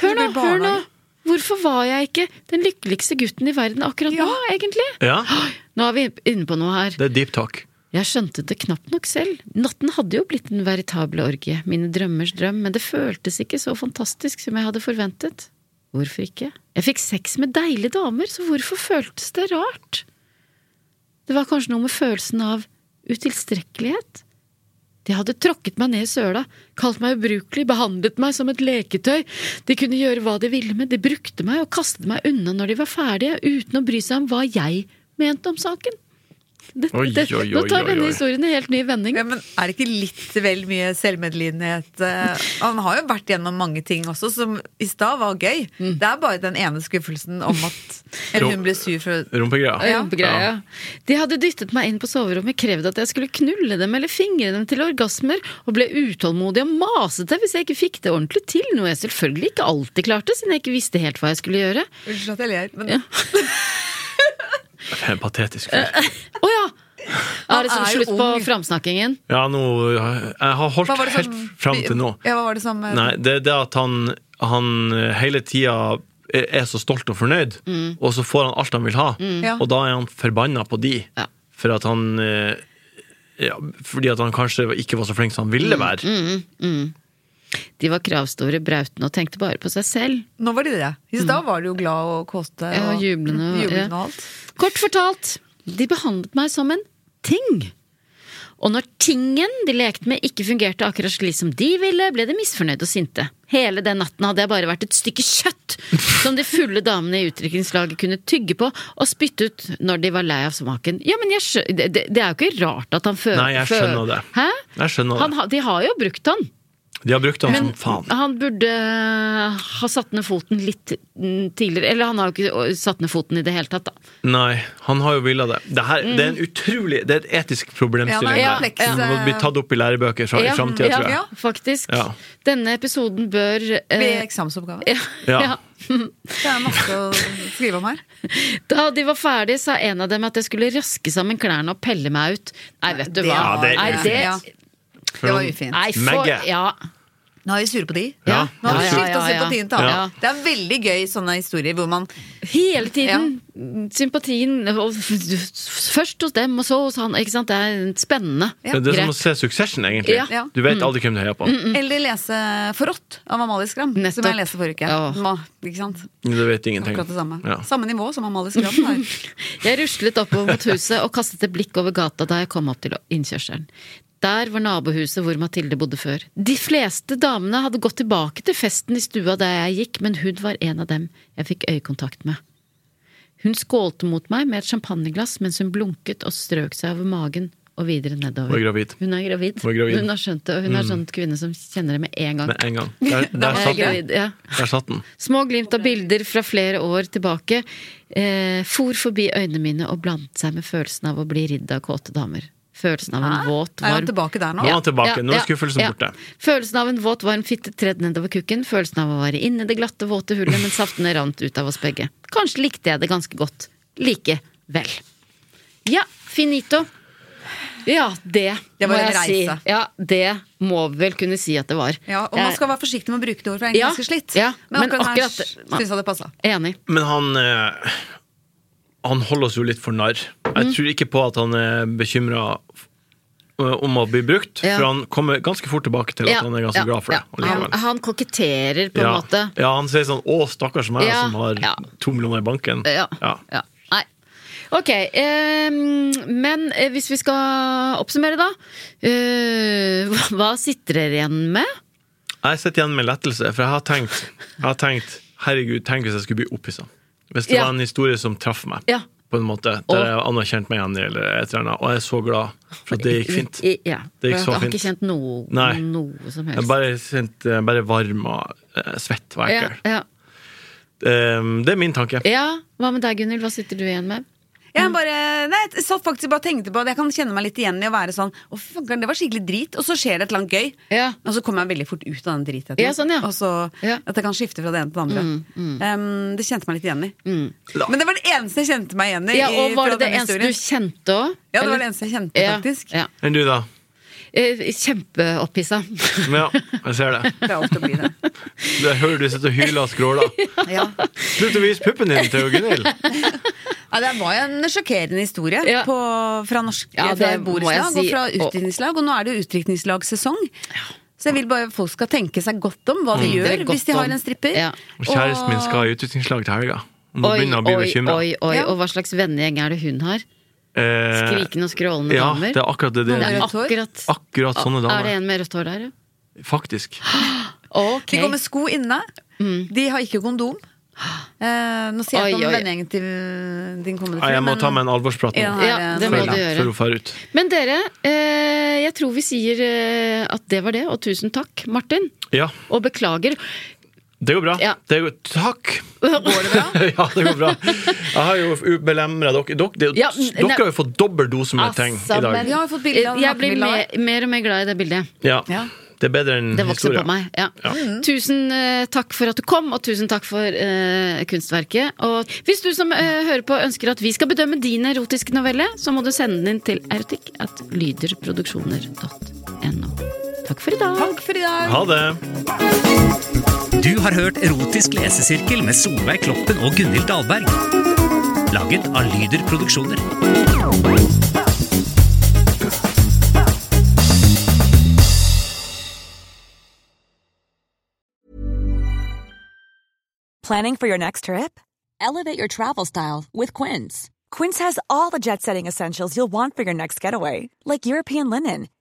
[SPEAKER 2] Hør nå,
[SPEAKER 3] Det blir
[SPEAKER 2] hør nå!
[SPEAKER 3] barnehage.
[SPEAKER 2] Hvorfor var jeg ikke den lykkeligste gutten i verden akkurat nå, egentlig?
[SPEAKER 5] Ja,
[SPEAKER 2] Nå er vi inne på noe her.
[SPEAKER 5] det er deep talk.
[SPEAKER 2] Jeg skjønte det knapt nok selv. Natten hadde jo blitt en veritabel orgie, mine drømmers drøm, men det føltes ikke så fantastisk som jeg hadde forventet. Hvorfor ikke? Jeg fikk sex med deilige damer, så hvorfor føltes det rart? Det var kanskje noe med følelsen av utilstrekkelighet? De hadde tråkket meg ned i søla, kalt meg ubrukelig, behandlet meg som et leketøy. De kunne gjøre hva de ville med, de brukte meg og kastet meg unna når de var ferdige, uten å bry seg om hva jeg mente om saken. Det,
[SPEAKER 5] Oi,
[SPEAKER 2] det,
[SPEAKER 5] oi,
[SPEAKER 2] nå
[SPEAKER 5] oi,
[SPEAKER 2] tar
[SPEAKER 5] oi,
[SPEAKER 2] denne
[SPEAKER 5] oi.
[SPEAKER 2] historien en helt ny vending.
[SPEAKER 3] Ja, men er det ikke litt vel mye selvmedlidenhet? eh? Han har jo vært gjennom mange ting også, som i stad var gøy.
[SPEAKER 2] Mm.
[SPEAKER 3] Det er bare den ene skuffelsen om at Eller hun ble sur for
[SPEAKER 5] Rumpegreia.
[SPEAKER 2] Ja. Rumpegreia. De hadde dyttet meg inn på soverommet, krevd at jeg skulle knulle dem eller fingre dem til orgasmer, og ble utålmodig og masete hvis jeg ikke fikk det ordentlig til, noe jeg selvfølgelig ikke alltid klarte, siden jeg ikke visste helt hva jeg skulle gjøre.
[SPEAKER 3] Unnskyld at jeg ler, men
[SPEAKER 5] Det er En patetisk fyr.
[SPEAKER 2] Å ja! Er det som
[SPEAKER 3] er jo
[SPEAKER 2] slutt på
[SPEAKER 3] ung.
[SPEAKER 2] framsnakkingen?
[SPEAKER 5] Ja, nå, eh, jeg har
[SPEAKER 3] hva
[SPEAKER 5] holdt
[SPEAKER 3] var det som
[SPEAKER 5] helt fram til nå.
[SPEAKER 3] Ja, hva var det som eh,
[SPEAKER 5] Nei, det er det at han, han eh, hele tida er er så stolt og fornøyd,
[SPEAKER 2] Mm.
[SPEAKER 5] og så får han alt han vil ha.
[SPEAKER 3] Ja.
[SPEAKER 5] Og da er han forbanna på de.
[SPEAKER 2] Ja.
[SPEAKER 5] For at han eh, ja, Fordi at han kanskje ikke var så flink som han
[SPEAKER 2] Mm.
[SPEAKER 5] ville være.
[SPEAKER 2] De var kravstore, brautende og tenkte bare på seg selv.
[SPEAKER 3] Nå var de det. I
[SPEAKER 5] Mm.
[SPEAKER 3] stad var de jo glad og kåte
[SPEAKER 2] Ja,
[SPEAKER 3] og
[SPEAKER 2] jublende og-
[SPEAKER 3] jublende
[SPEAKER 2] ja.
[SPEAKER 3] og alt.
[SPEAKER 2] Kort fortalt, de behandlet meg som en ting. Og når tingen de lekte med ikke fungerte akkurat slik som de ville, ble de misfornøyde og sinte. Hele den natten hadde jeg bare vært et stykke kjøtt som de fulle damene i utdrikningslaget kunne tygge på og spytte ut når de var lei av smaken. Ja, men jeg skjø det, det det er jo ikke rart at han føler
[SPEAKER 5] Nei, jeg skjønner det.
[SPEAKER 2] Hæ?
[SPEAKER 5] Jeg skjønner
[SPEAKER 2] Han,
[SPEAKER 5] det.
[SPEAKER 2] ha- de har jo brukt han.
[SPEAKER 5] De har brukt han
[SPEAKER 2] Men
[SPEAKER 5] som faen.
[SPEAKER 2] han burde eh, ha satt ned foten litt mm, tidligere. Eller han har jo ikke satt ned foten i det hele tatt, da.
[SPEAKER 5] Nei, han har jo villa det. Det, her, det er
[SPEAKER 2] Mm.
[SPEAKER 5] en utrolig Det er et etisk problemstilling.
[SPEAKER 3] Ja,
[SPEAKER 5] her.
[SPEAKER 3] det er kompleks,
[SPEAKER 5] Det må bli tatt opp i lærebøker fra,
[SPEAKER 2] eh, Ja,
[SPEAKER 5] i framtida,
[SPEAKER 2] ja,
[SPEAKER 5] tror jeg.
[SPEAKER 3] ja.
[SPEAKER 2] Faktisk.
[SPEAKER 5] Ja.
[SPEAKER 2] Denne episoden bør eh,
[SPEAKER 3] Ved eksamensoppgave.
[SPEAKER 2] ja,
[SPEAKER 5] Ja.
[SPEAKER 2] ja.
[SPEAKER 3] Det er masse å skrive om her.
[SPEAKER 2] Da de var ferdige, sa en av dem at jeg skulle raske sammen klærne og pelle meg ut. Nei, vet du
[SPEAKER 3] det
[SPEAKER 2] hva.
[SPEAKER 5] Ja, det er
[SPEAKER 2] Nei,
[SPEAKER 5] ufint.
[SPEAKER 2] det,
[SPEAKER 3] Ja. Det var ufint.
[SPEAKER 2] nei, for,
[SPEAKER 5] Megge.
[SPEAKER 2] ja.
[SPEAKER 3] Nå er vi sure på de.
[SPEAKER 5] Ja.
[SPEAKER 3] Nå har vi
[SPEAKER 2] Ja, ja,
[SPEAKER 3] skiftet
[SPEAKER 2] ja, ja.
[SPEAKER 3] sympatien til alle.
[SPEAKER 2] Ja.
[SPEAKER 3] Det er veldig gøy sånne historier hvor man
[SPEAKER 2] Hele tiden. Sympatien og, Først hos dem, og så hos han. Ikke sant? Det er spennende.
[SPEAKER 5] Det er det som
[SPEAKER 2] Greit.
[SPEAKER 5] å se Succession, egentlig.
[SPEAKER 2] Ja. Mm.
[SPEAKER 3] Ja.
[SPEAKER 5] Du vet aldri hvem du heier på.
[SPEAKER 3] Eller lese Forrådt av Amalie Skram, som
[SPEAKER 2] Nettopp.
[SPEAKER 3] jeg leste forrige uke.
[SPEAKER 2] Ja.
[SPEAKER 3] Må, ikke sant?
[SPEAKER 5] Du vet ingenting.
[SPEAKER 3] Akkurat det samme.
[SPEAKER 5] Ja.
[SPEAKER 3] Samme nivå som Amalie Skram har.
[SPEAKER 2] Jeg ruslet oppover mot huset og kastet et blikk over gata da jeg kom opp til innkjørselen. Der var nabohuset hvor Mathilde bodde før. De fleste damene hadde gått tilbake til festen i stua der jeg gikk, men hun var en av dem jeg fikk øyekontakt med. Hun skålte mot meg med et champagneglass mens hun blunket og strøk seg over magen og videre
[SPEAKER 5] Hun
[SPEAKER 2] nedover.
[SPEAKER 5] er gravid.
[SPEAKER 2] Hun er gravid.
[SPEAKER 5] Hun er gravid.
[SPEAKER 2] har skjønt det, og hun er sånn kvinne som kjenner det med en gang.
[SPEAKER 5] Med en gang. Der, der,
[SPEAKER 2] Jeg er
[SPEAKER 5] satt den.
[SPEAKER 2] gravid, ja.
[SPEAKER 5] der satt den.
[SPEAKER 2] Små glimt av bilder fra flere år tilbake eh, for forbi øynene mine og blandet seg med følelsen av å bli ridd av kåte damer. Følelsen av en våt,
[SPEAKER 3] Er han
[SPEAKER 2] varm
[SPEAKER 3] tilbake der nå?
[SPEAKER 5] Nå er han tilbake. Nå er skuffelsen borte.
[SPEAKER 2] Følelsen av en våt, varm fitte tredd nedover kukken. Følelsen av å være inne i det glatte, våte hullet, men saftene rant ut av oss begge. Kanskje likte jeg det ganske godt. Likevel. Ja, finito. Ja, det,
[SPEAKER 3] Det var
[SPEAKER 2] må
[SPEAKER 3] en
[SPEAKER 2] jeg si.
[SPEAKER 3] reise.
[SPEAKER 2] Ja, det må vi vel kunne si at det var.
[SPEAKER 3] Ja, og
[SPEAKER 2] Jeg
[SPEAKER 3] man skal være forsiktig med å bruke det ordet, for det er
[SPEAKER 2] Ja,
[SPEAKER 3] ganske slitt.
[SPEAKER 2] ja,
[SPEAKER 3] men
[SPEAKER 2] men
[SPEAKER 3] akkurat,
[SPEAKER 2] akkurat-
[SPEAKER 3] her syns jeg det passa.
[SPEAKER 2] er Enig.
[SPEAKER 5] Men han eh, Han holder oss jo litt for narr. Jeg
[SPEAKER 2] Mhm.
[SPEAKER 5] tror ikke på at han er bekymra om å bli brukt,
[SPEAKER 2] Ja.
[SPEAKER 5] for han kommer ganske fort tilbake til at
[SPEAKER 2] Ja,
[SPEAKER 5] han er ganske
[SPEAKER 2] ja,
[SPEAKER 5] glad for det.
[SPEAKER 2] ja.
[SPEAKER 5] allikevel.
[SPEAKER 2] Han, han koketterer på en
[SPEAKER 5] ja.
[SPEAKER 2] måte.
[SPEAKER 5] ja, han sier sånn 'Å, stakkars meg
[SPEAKER 2] Ja,
[SPEAKER 5] som har
[SPEAKER 2] ja.
[SPEAKER 5] to millioner i banken'.
[SPEAKER 2] Ja.
[SPEAKER 5] Ja.
[SPEAKER 2] ja. Nei. Ok, eh, men eh, hvis vi skal oppsummere, da. Eh, hva- hva sitter dere igjen med?
[SPEAKER 5] Jeg sitter igjen med lettelse, for jeg har tenkt, jeg har tenkt Herregud, tenk hvis jeg skulle bli opphissa. Hvis det
[SPEAKER 2] Ja.
[SPEAKER 5] var en historie som traff meg,
[SPEAKER 2] Ja.
[SPEAKER 5] på en måte, der jeg anerkjente meg igjen i, eller et eller annet, og jeg er så glad for at det gikk fint.
[SPEAKER 2] I, ja.
[SPEAKER 5] Det gikk så
[SPEAKER 2] For jeg har ikke
[SPEAKER 5] fint.
[SPEAKER 2] kjent noe,
[SPEAKER 5] Nei.
[SPEAKER 2] noe som
[SPEAKER 5] Jeg
[SPEAKER 2] helst.
[SPEAKER 5] er bare, sint, jeg er bare varm og eh, svett og
[SPEAKER 2] ja,
[SPEAKER 5] ekkel.
[SPEAKER 2] ja.
[SPEAKER 5] Ehm, det er min tanke.
[SPEAKER 2] ja, Hva med deg, Gunhild? Hva sitter du igjen med?
[SPEAKER 3] Jeg bare, nei, jeg satt faktisk bare og tenkte på det. Jeg kan kjenne meg litt igjen i å være sånn Å, fy fankeren, det var skikkelig drit. Og så skjer det et eller annet gøy.
[SPEAKER 2] Ja.
[SPEAKER 3] Og så kommer jeg veldig fort ut av den dritheten.
[SPEAKER 2] Ja, sånn, ja.
[SPEAKER 3] Og så
[SPEAKER 2] Ja. Mm,
[SPEAKER 3] At jeg kan skifte fra det ene til det andre. Um, det kjente meg litt igjen i.
[SPEAKER 5] Da.
[SPEAKER 3] Men det var det eneste jeg kjente meg igjen i.
[SPEAKER 2] Ja,
[SPEAKER 3] i-
[SPEAKER 2] og Var
[SPEAKER 3] fra
[SPEAKER 2] det det
[SPEAKER 3] denne
[SPEAKER 2] eneste
[SPEAKER 3] historien.
[SPEAKER 2] du kjente òg?
[SPEAKER 3] Ja, det var det eneste jeg kjente, faktisk.
[SPEAKER 2] Ja, ja.
[SPEAKER 5] Enn du, da?
[SPEAKER 2] eh, kjempeopphissa.
[SPEAKER 5] Ja, jeg ser det.
[SPEAKER 3] Det er ofte å bli det.
[SPEAKER 5] Det hører du sitter og hyler og skråler.
[SPEAKER 3] Ja.
[SPEAKER 5] Slutt å vise puppen din til Gunhild!
[SPEAKER 3] Ja, det var jo en sjokkerende historie
[SPEAKER 2] Ja.
[SPEAKER 3] på, fra norsk
[SPEAKER 2] Ja,
[SPEAKER 3] fra
[SPEAKER 2] det må
[SPEAKER 3] borettslag
[SPEAKER 2] jeg si.
[SPEAKER 3] og fra
[SPEAKER 2] Og-
[SPEAKER 3] utdrikningslag, og nå er det utdrikningslagssesong. Så jeg vil bare folk skal tenke seg godt om hva de
[SPEAKER 2] Tenke
[SPEAKER 3] gjør
[SPEAKER 2] Mm, godt
[SPEAKER 3] hvis de
[SPEAKER 2] om.
[SPEAKER 3] har en stripper.
[SPEAKER 2] Ja.
[SPEAKER 5] Og kjæresten min skal ha utviklingslag til helga. Nå begynner jeg å bli
[SPEAKER 2] oi,
[SPEAKER 5] bekymra.
[SPEAKER 2] oi, oi.
[SPEAKER 3] Ja.
[SPEAKER 2] Og hva slags vennegjeng er det hun har? Skrikende og skrålende
[SPEAKER 5] Eh, Ja,
[SPEAKER 2] damer?
[SPEAKER 5] det er akkurat det. det er.
[SPEAKER 2] Det er
[SPEAKER 3] Rødt hår?
[SPEAKER 2] akkurat,
[SPEAKER 5] Akkurat sånne
[SPEAKER 2] Er det
[SPEAKER 5] damer.
[SPEAKER 2] en med rødt hår der, ja?
[SPEAKER 5] Faktisk.
[SPEAKER 2] Ok. Mm.
[SPEAKER 3] De går med sko inne. De har ikke kondom. Eh, nå sier
[SPEAKER 2] Oi,
[SPEAKER 3] jeg ikke
[SPEAKER 2] oi.
[SPEAKER 3] om vennegjengen til din kommende
[SPEAKER 5] Nei, jeg må
[SPEAKER 3] men-
[SPEAKER 5] ta med en alvorsprat
[SPEAKER 3] Ja,
[SPEAKER 5] nå.
[SPEAKER 3] her
[SPEAKER 2] Ja,
[SPEAKER 3] er en
[SPEAKER 2] det må
[SPEAKER 3] feil,
[SPEAKER 5] Før
[SPEAKER 2] du
[SPEAKER 3] da.
[SPEAKER 2] gjøre.
[SPEAKER 5] før hun drar ut.
[SPEAKER 2] sånn eh, Men dere, eh, jeg tror vi sier eh, at det var det, og tusen takk, Martin.
[SPEAKER 5] Ja,
[SPEAKER 2] Og beklager.
[SPEAKER 5] det går bra.
[SPEAKER 2] Ja.
[SPEAKER 5] Det går, takk!
[SPEAKER 2] Går det bra?
[SPEAKER 5] ja, det går bra. Jeg har jo belemra dere. Dere, det er jo-
[SPEAKER 2] Ja,
[SPEAKER 5] dere
[SPEAKER 2] nei.
[SPEAKER 5] har jo fått dobbel dose med ting
[SPEAKER 2] Altså,
[SPEAKER 5] i dag.
[SPEAKER 2] men-
[SPEAKER 3] Vi har jo fått bilde av
[SPEAKER 2] Jeg blir
[SPEAKER 3] nakenbilder av
[SPEAKER 2] mer, mer og mer glad i det bildet.
[SPEAKER 5] Ja.
[SPEAKER 3] Ja.
[SPEAKER 5] Det er bedre enn
[SPEAKER 2] Det vokser
[SPEAKER 5] historia.
[SPEAKER 2] på meg. Ja. Tusen eh, takk for at du kom, og tusen takk for eh, kunstverket. Og hvis du som eh, hører på ønsker at vi skal bedømme din erotiske novelle, så må du sende den inn til erotikk.lyderproduksjoner.no. Takk for i dag.
[SPEAKER 3] Takk for i dag.
[SPEAKER 5] Ha det!
[SPEAKER 4] Du har hørt Erotisk lesesirkel med Solveig Kloppen og Gunhild Dahlberg. Laget av Lyder Produksjoner.
[SPEAKER 7] Planning for your next trip? Elevate your travel style with Quince. Quince has all the jet setting essentials you'll want for your next getaway, like European linen,